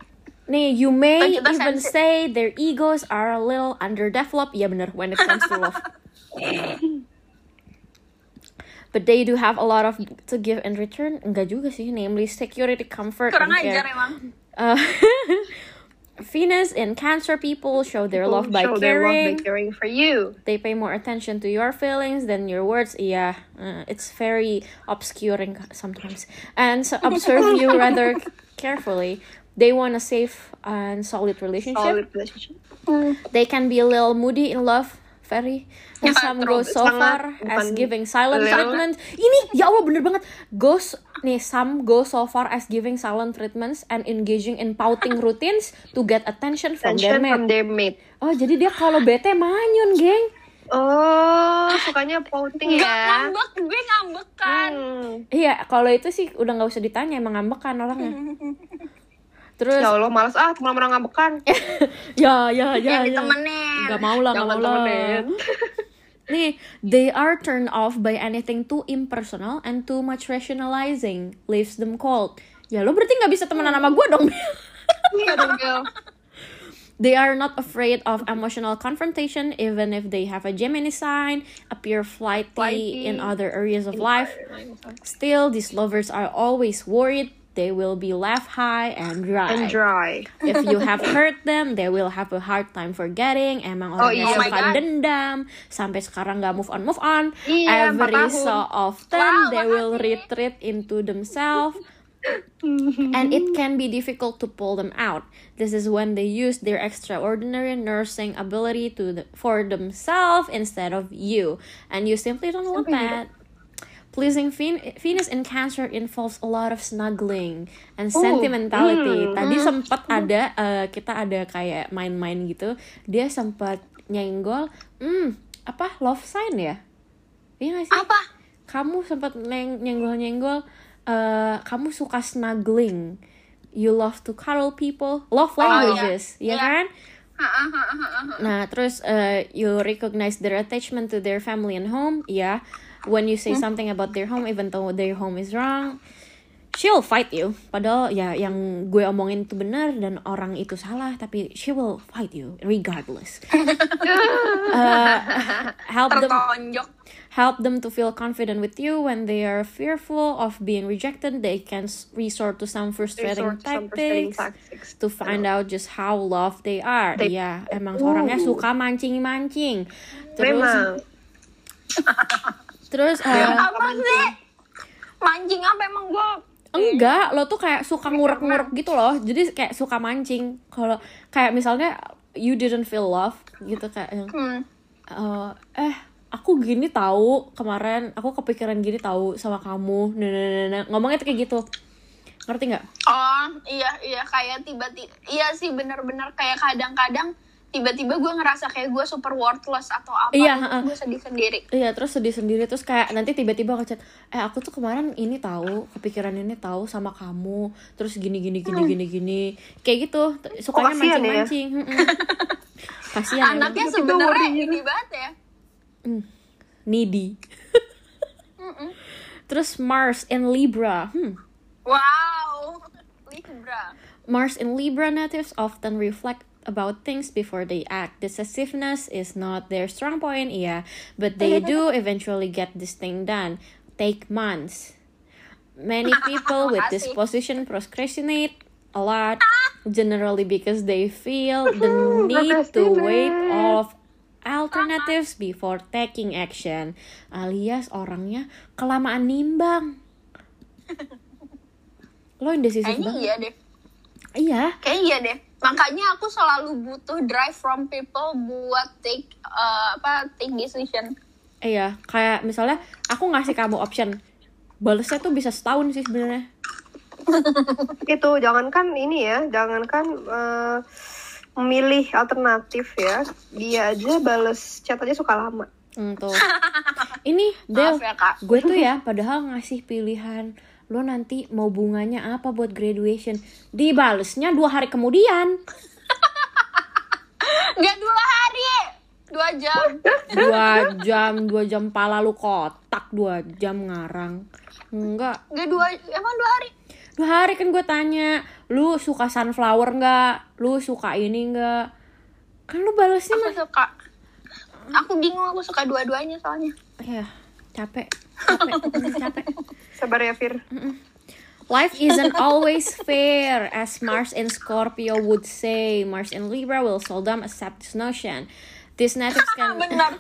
nih you may
Kita
even
sensi-
say their egos are a little underdeveloped ya bener when it comes to love But they do have a lot of to give in return. Enggak juga sih, namely security, comfort,
Kurang
and care.
ajar emang.
Uh, Venus and Cancer people show their love by
show their love by
caring.
caring for you
They pay more attention to your feelings than your words. Yeah, uh, it's very obscuring sometimes. And so observe you rather carefully. They want a safe and solid relationship.
Solid relationship.
They can be a little moody in love. Very.
Iya
And some go
terus
so
banget,
far as
kan, bukan
giving silent
little.
treatment. Ini ya Allah bener banget. Goes nih some go so far as giving silent treatments and engaging in pouting routines to get attention from their
Attention from
mate.
their mate
Oh jadi dia kalau bete manyun geng.
oh sukanya pouting
Gak
ya
ngambek, gue ngambek kan.
Hmm.
Iya kalau itu sih udah nggak usah ditanya emang ngambek kan orangnya. Terus
ya Allah malas ah teman-teman ngambekan
ya ya
Hmm.
ya
Yang
ya.
ditemenin.
Gak mau lah, gak
Jangan
mau lah.
temenin.
Nih, they are turned off by anything too impersonal and too much rationalizing, leaves them cold. Ya lo berarti nggak bisa temenan sama gue dong. Mil.
iya dong Bel
They are not afraid of emotional confrontation, even if they have a Gemini sign, appear flighty,
Flighty.
in other areas of life. Still, these lovers are always worried they will be left high and dry.
and dry
if you have hurt them, they will have a hard time forgetting. Emang
Oh,
orangnya
iya.
suka
Oh my God.
dendam, sampai sekarang nggak move on move on.
Iya, empat
Every
tahun.
so often
Wow,
they will
makasih.
retreat into themselves. and it can be difficult to pull them out. This is when they use their extraordinary nursing ability to the, for themselves instead of you, and you simply don't want that. Pleasing Ven- Venus in Cancer involves a lot of snuggling and sentimentality. Tadi sempat ada eh, kita ada kayak main-main gitu. Dia sempat nyenggol, hmm apa love sign ya? Iya gak sih?
Apa?
Kamu sempat neng- nyenggol-nyenggol. eh, kamu suka snuggling. You love to cuddle people. Love languages, ya
iya.
kan?
Ha, ha, ha, ha, ha.
Nah, terus uh, you recognize their attachment to their
Hmm.
family and home, ya. When you say something about their home, even though their home is wrong, she'll fight you padahal ya yang gue omongin itu benar dan orang itu salah tapi she will fight you regardless Uh, help them
tertonjok
help them to feel confident with you when they are fearful of being rejected they can s- resort to some frustrating
Resort to some frustrating
tactics
tactics.
to find out just how loved they are
They-
Iya, emang orangnya suka mancing-mancing terus
Memang.
terus uh,
apa sih mancing apa emang gue
enggak lo tuh kayak suka ngurek-ngurek gitu loh jadi kayak suka mancing kalau kayak misalnya you didn't feel love gitu kayak yang,
hmm.
eh, eh aku gini tahu kemarin aku kepikiran gini tahu sama kamu nah, nah, nah, nah. ngomongnya tuh kayak gitu ngerti nggak
oh iya iya kayak tiba-tiba iya sih bener-bener kayak kadang-kadang tiba-tiba gue ngerasa kayak gue super worthless atau apa
Iya,
gitu,
heeh.
gue sedih sendiri
Iya terus sedih sendiri terus kayak nanti tiba-tiba ngechat eh aku tuh kemarin ini tahu kepikiran ini tahu sama kamu terus gini gini gini gini gini kayak gitu T- sukanya
kasihan ya?
mancing-mancing Mm-mm. kasihan ya.
anaknya
tiba-tiba
sebenarnya
worrying.
ini banget ya
needy terus Mars in Libra hmm.
wow Libra
Mars in Libra natives often reflect about things before they act. Decisiveness is not their strong point, yeah, but they do eventually get this thing done. Take months. Many people with this position procrastinate a lot, generally because they feel the need to wait off alternatives before taking action. Alias orangnya kelamaan nimbang. Lo indecisif
kayaknya
banget.
iya deh
Iya.
Kayaknya iya deh. Makanya aku selalu butuh drive from people buat take uh, apa take decision.
Iya, kayak misalnya aku ngasih kamu option balesnya tuh bisa setahun sih sebenarnya.
itu jangankan gitu. ini ya jangankan eh, memilih alternatif ya dia aja bales chat aja suka lama
Hmm, tuh. Ini Del,
Maaf ya kak.
gue tuh ya padahal ngasih pilihan lo nanti mau bunganya apa buat graduation dibalesnya dua hari kemudian
Gak dua hari, dua jam.
dua jam dua jam pala lu kotak dua jam ngarang enggak
Gak dua, emang dua hari.
dua hari kan gue tanya lu suka sunflower nggak lu suka ini nggak kan lu balesnya
Aku
mah
suka. Aku bingung, aku suka dua-duanya soalnya.
ya capek capek pokoknya capek
sabar ya Fir
Life isn't always fair, as Mars in Scorpio would say. Mars in Libra will seldom accept this notion. These natives can,
Ah, Benar.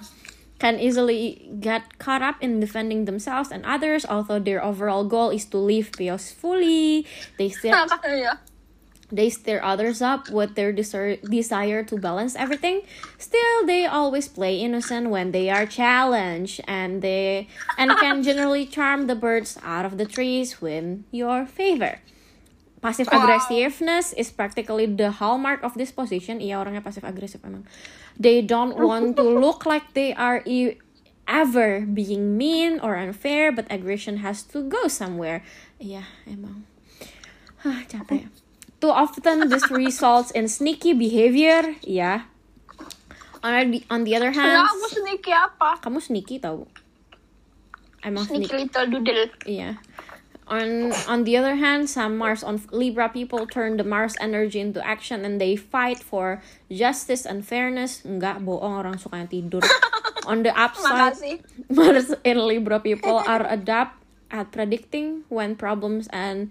can easily get caught up in defending themselves and others, although their overall goal is to live peacefully. They still
Iya.
they stir others up with their desir- desire to balance everything. Still, they always play innocent when they are challenged, and they and can generally charm the birds out of the trees with your favor. Passive aggressiveness is practically the hallmark of this position. Iya orangnya pasif agresif emang. They don't want to look like they are e- ever being mean or unfair, but aggression has to go somewhere. Iya emang. Hah, capek. Too often, this results in sneaky behavior. Yeah. On the, on the other
Nah,
hand,
aku sneaky apa?
kamu sneaky tau? Emang
Sneaky
sneaky.
little doodle.
Yeah. On on the other hand, some Mars on Libra people turn the Mars energy into action and they fight for justice and fairness. Enggak bohong orang sukanya tidur. on the upside,
Makasih.
Mars in Libra people are adept at predicting when problems and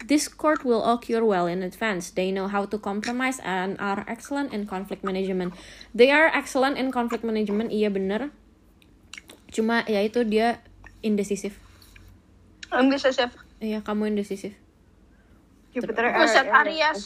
discord will occur well in advance. They know how to compromise and are excellent in conflict management. They are excellent in conflict management, iya bener. Cuma ya itu dia indecisif.
Ambisious.
Iya, kamu indecisif.
Jupiter ya.
Buset
Aries.
Aries.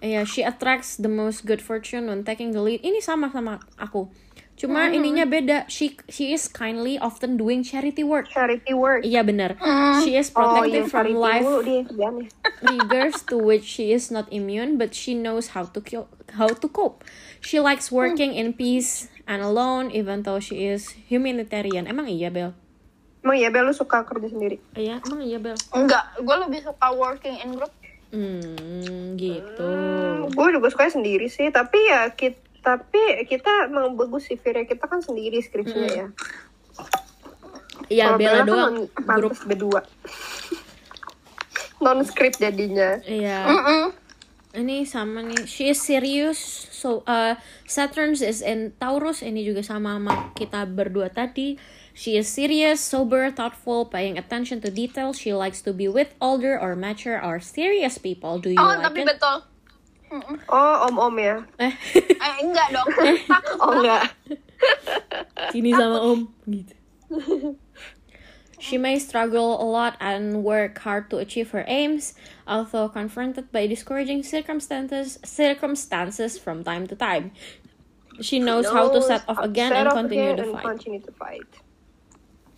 Iya, she attracts the most good fortune when taking the lead. Ini sama sama aku. Cuma ininya beda. She she is kindly often doing charity work.
charity work
Iya bener. She is
oh
protective
iya
from
charity
life
mulu dia kerjaan ya.
rigors to which she is not immune, but she knows how to kill, how to cope. She likes working in peace and alone, even though she is humanitarian. Emang iya Bel?
emang ya Bel lu suka kerja sendiri
Iya, emang iya Bel.
Enggak, gue lebih suka working in group.
Hmm, gitu.
gue Hmm, juga suka sendiri sih tapi ya kita tapi kita emang bagus sih Fir ya kita kan sendiri skripsinya ya
Iya
Kalau
Ya, Bella
kan
doang.
emang pantas berdua non script jadinya.
Iya.
Mm-mm.
Ini sama nih. She is serious. So uh, Saturn is in Taurus. Ini juga sama sama kita berdua tadi. She is serious, sober, thoughtful, paying attention to detail. She likes to be with older or mature or serious people. Do you
Oh,
Iya,
like
tapi
it?
betul.
Oh, om-om ya.
Eh,
Eh, enggak dong. Takut
Oh enggak.
sini sama Om gitu. She may struggle a lot and work hard to achieve her aims, although confronted by discouraging circumstances circumstances from time to time. She knows how to set off again and
uh, Set off
continue
again
the
and
fight.
continue to fight.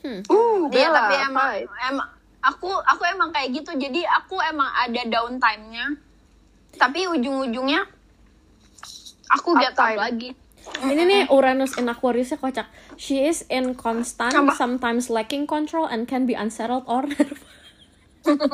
Hmm.
Uh,
Iya,
Bella,
tapi emang,
fight.
emang aku aku emang kayak gitu. Jadi aku emang ada downtime-nya. Tapi ujung-ujungnya aku get up
Uptime.
lagi.
Ini nih Uranus in Aquariusnya kocak. She is in constant,
Apa?
sometimes lacking control and can be unsettled or nervous.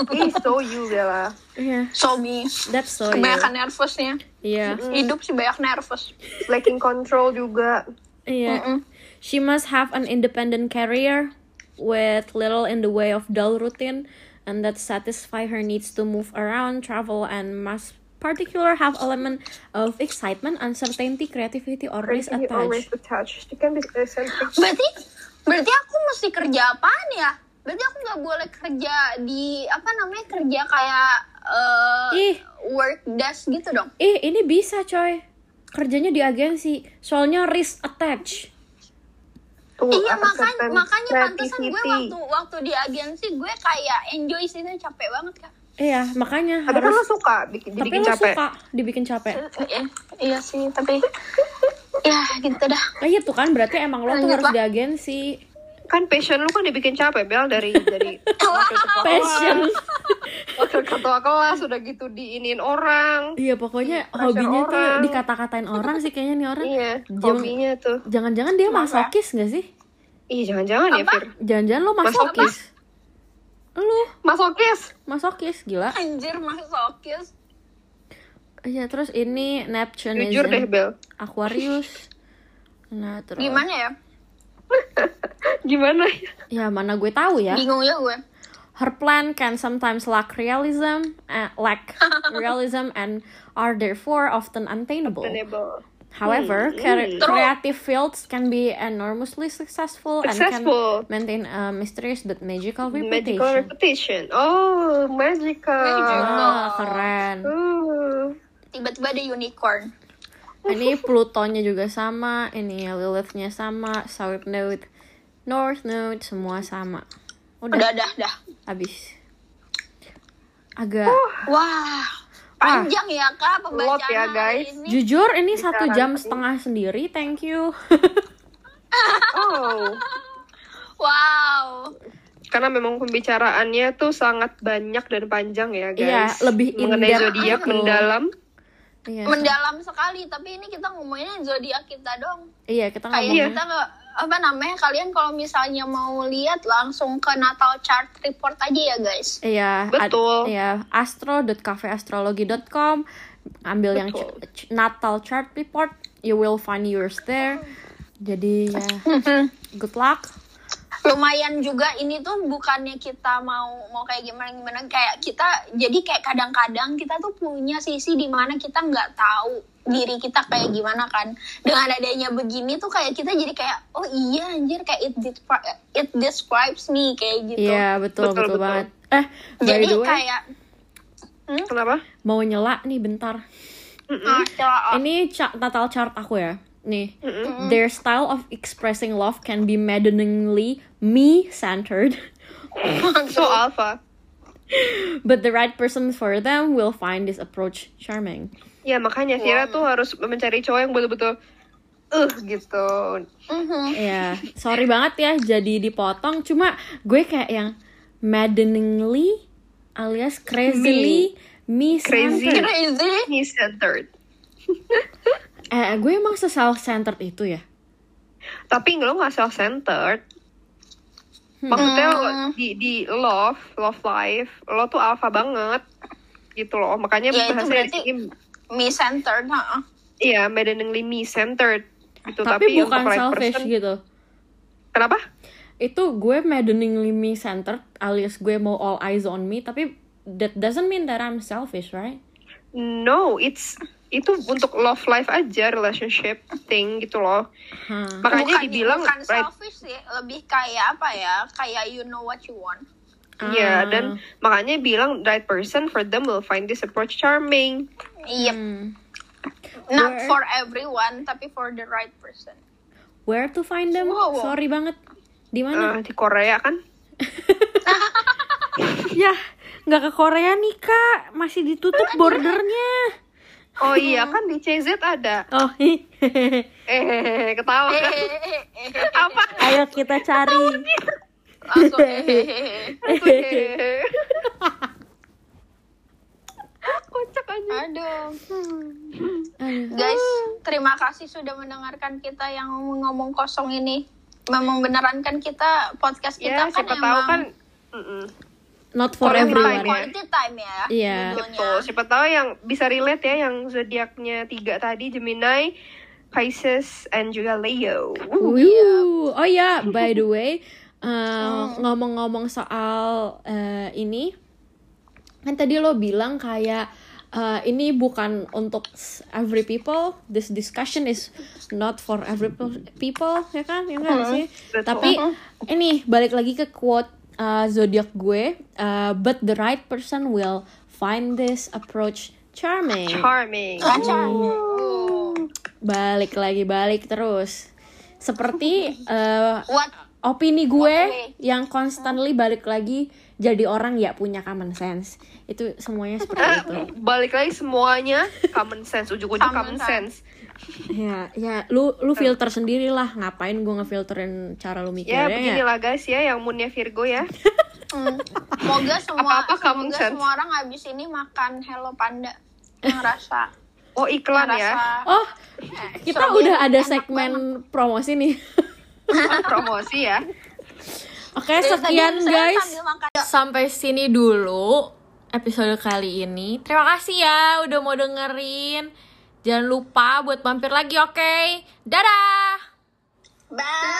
Please show you Bella.
yeah,
Oh,
Sobi,
that's
iya.
so you.
kebanyakan nervousnya.
Yeah,
Mm.
Hidup sih banyak nervous.
Lacking control juga.
yeah.
Mm-mm.
Iya. She must have an independent career with little in the way of dull routine and that satisfy her needs to move around, travel and must particular have element of excitement, uncertainty, creativity always
Everything you always
attached.
attached. You can be uh, eccentric.
Berarti berarti aku mesti kerja apaan ya? Berarti aku nggak boleh kerja di apa namanya kerja kayak eh,
Ih.
work desk gitu dong.
Ih, Eh, ini bisa coy. Kerjanya di agensi, soalnya risk attached.
Tuh,
iya
apa
makanya
certain
makanya pantesan gue
creativity.
waktu waktu di agensi gue kayak enjoy sih itu capek banget kan.
Iya, makanya
Tapi kan
harus
lo suka bikin,
tapi
dibikin
lo
capek.
suka dibikin capek
Iya, iya sih tapi ya gitu dah.
kayak gitu kan berarti emang lo tuh
Iya,
Lanjut
harus
lah.
di agensi
Kan passion lo kan dibikin capek Bel dari dari wakil ketua
passion
kelas. Wakil ketua kelas udah gitu diinin orang.
iya pokoknya
Pressure
hobinya tuh
orang.
dikata-katain orang sih kayaknya nih orang
Iya,
Jangan-
hobinya tuh.
jangan-jangan dia masokis gak sih
Ih, jangan-jangan ya,
Apa?
Fir.
jangan-jangan lo masokis lu
Masokis.
masokis gila
Anjir masokis.
iya terus ini Neptune is in
Jujur deh, Bel.
Aquarius nah terus
Gimana ya?
Gimana ya?
ya mana gue tahu ya
Bingung ya gue.
Her plan can sometimes lack realism, uh, lack realism, and are therefore often untenable.
Sustainable.
However,
Hmm.
cre-
True.
creative fields can be enormously successful,
Successful.
and can maintain a mysterious but magical reputation.
Magical reputation. Oh, magical.
Magical.
Ah, keren.
Uh,
Tiba-tiba ada unicorn.
Ini Plutonya juga sama, ini Lilithnya sama, South Node, North Node, semua sama.
Udah
Udah,
dah dah.
habis. Agak
Wah.
Ah.
Panjang ya Kak pembacaan
Lot ya,
hari
guys.
ini.
jujur ini satu
Bicara
jam
tadi.
setengah sendiri. Thank you.
oh.
Wow.
Karena memang pembicaraannya tuh sangat banyak dan panjang
Iya,
ya, guys.
lebih in
mengenai
depth
zodiak
gitu.
mendalam.
Iya,
Mendalam sekali, tapi ini kita ngomongin zodiak kita dong.
iya kita
Kayak gitu.
ngomongnya.
kita nggak apa namanya kalian kalau misalnya mau lihat langsung ke Natal chart report aja ya guys.
Iya, ad-
Betul.
Iya, astro.cafeastrologi.com ambil yang
Betul.
ch- ch- Natal chart report, you will find yours there. Jadi ya, good luck.
Lumayan juga ini tuh bukannya kita mau mau kayak gimana gimana kayak kita jadi kayak kadang-kadang kita tuh punya sisi di mana kita nggak tahu diri kita kayak gimana kan. Dengan adanya begini tuh kayak kita jadi kayak oh iya anjir kayak it descri- it describes me kayak gitu.
Iya, betul,
Betul,
betul
betul.
banget. Eh, by
Jadi
the way,
kayak
Hmm?
Kenapa?
mau nyela nih bentar.
ah, celah.
Ini ca- Natal chart aku ya. Nih. Their style of expressing love can be maddeningly me-centered.
So alpha.
But the right person for them will find this approach charming.
Ya makanya Vira tuh harus mencari cowok yang betul-betul uh gitu.
Mhm.
Ya, sorry banget ya jadi dipotong. Cuma gue kayak yang maddeningly alias crazily me,
Crazy.
centered.
Crazy.
He centered.
Eh, gue emang self centered itu ya.
Tapi lo nggak self centered.
Hmm.
Maksudnya lo-
Hmm.
di di love, love life, lo tuh alpha banget gitu loh. Makanya
Ya, itu
bahasanya di
berarti-
sini
Me centered, heeh.
iya maddeningly me centered gitu.
Tapi, bukan
Tapi, untuk right
selfish
person-
gitu.
Kenapa?
Itu gue maddeningly me centered alias gue mau all eyes on me tapi that doesn't mean that I'm selfish, right?
No, it's itu untuk love life aja relationship thing gitu loh.
Huh.
Makanya
bukan,
dibilang
bukan
right
selfish sih, lebih kayak apa ya? Kayak you know what you want.
Iya,
Ah.
dan makanya bilang right person for them will find this approach charming.
Iya,
Hmm. Where-
not for everyone, tapi for the right person.
Where to find them?
Wow, wow.
Sorry banget. Di mana?
Eh, di Korea kan
Yah, Ya, nggak ke Korea nih kak, masih ditutup bordernya.
Oh iya
Hmm.
kan di CZ ada.
Oh, hi.
Eh ketawa kan? Apa?
ayo kita cari.
Langsung hehehe.
Eh. Kocak aja.
Aduh.
Hmm.
Aduh.
Guys, terima kasih sudah mendengarkan kita yang ngomong kosong ini. Memang beneran kan kita podcast
Ya
kita kan
siapa
emang
tahu kan. Mm-mm.
Not for
Korea
emang
everyone.
Friday.
quality time ya.
Iya.
judulnya.
Betul. Siapa tahu yang bisa relate ya yang zodiaknya tiga tadi Gemini, Pisces, and juga Leo.
Wuh. Oh ya, by the way, uh, ngomong-ngomong soal uh, ini, kan tadi lo bilang kayak uh, ini bukan untuk s- every people. This discussion is not for every pe- people, ya kan? Ya nggak sih?
betul.
Tapi ini balik lagi ke quote uh, zodiak gue, uh, but the right person will find this approach charming.
Charming.
Kacau.
balik lagi balik terus. Seperti uh,
What?
opini gue
Oke.
yang constantly balik lagi jadi orang ya punya common sense itu semuanya seperti
Ah.
itu
Balik lagi semuanya common sense, ujuk-ujuk common
Common
sense.
ya ya lu lu filter sendiri lah ngapain gue ngefilterin cara lu mikirnya ya?
Ya beginilah guys ya yang moonnya Virgo ya.
Hmm. Semoga semua
Apa-apa kamu,
semoga
Chan.
semua orang habis ini makan Hello Panda. Ngerasa
Oh iklan ya.
ngerasa
oh kita
Soalnya
udah ada
enak
segmen promosi nih
Oh, promosi ya.
oke
Dari Iya, tadi
sekian
saya
guys
sambil makan.
sampai sini dulu episode kali ini terima kasih ya udah mau dengerin jangan lupa buat mampir lagi oke dadah
Bye.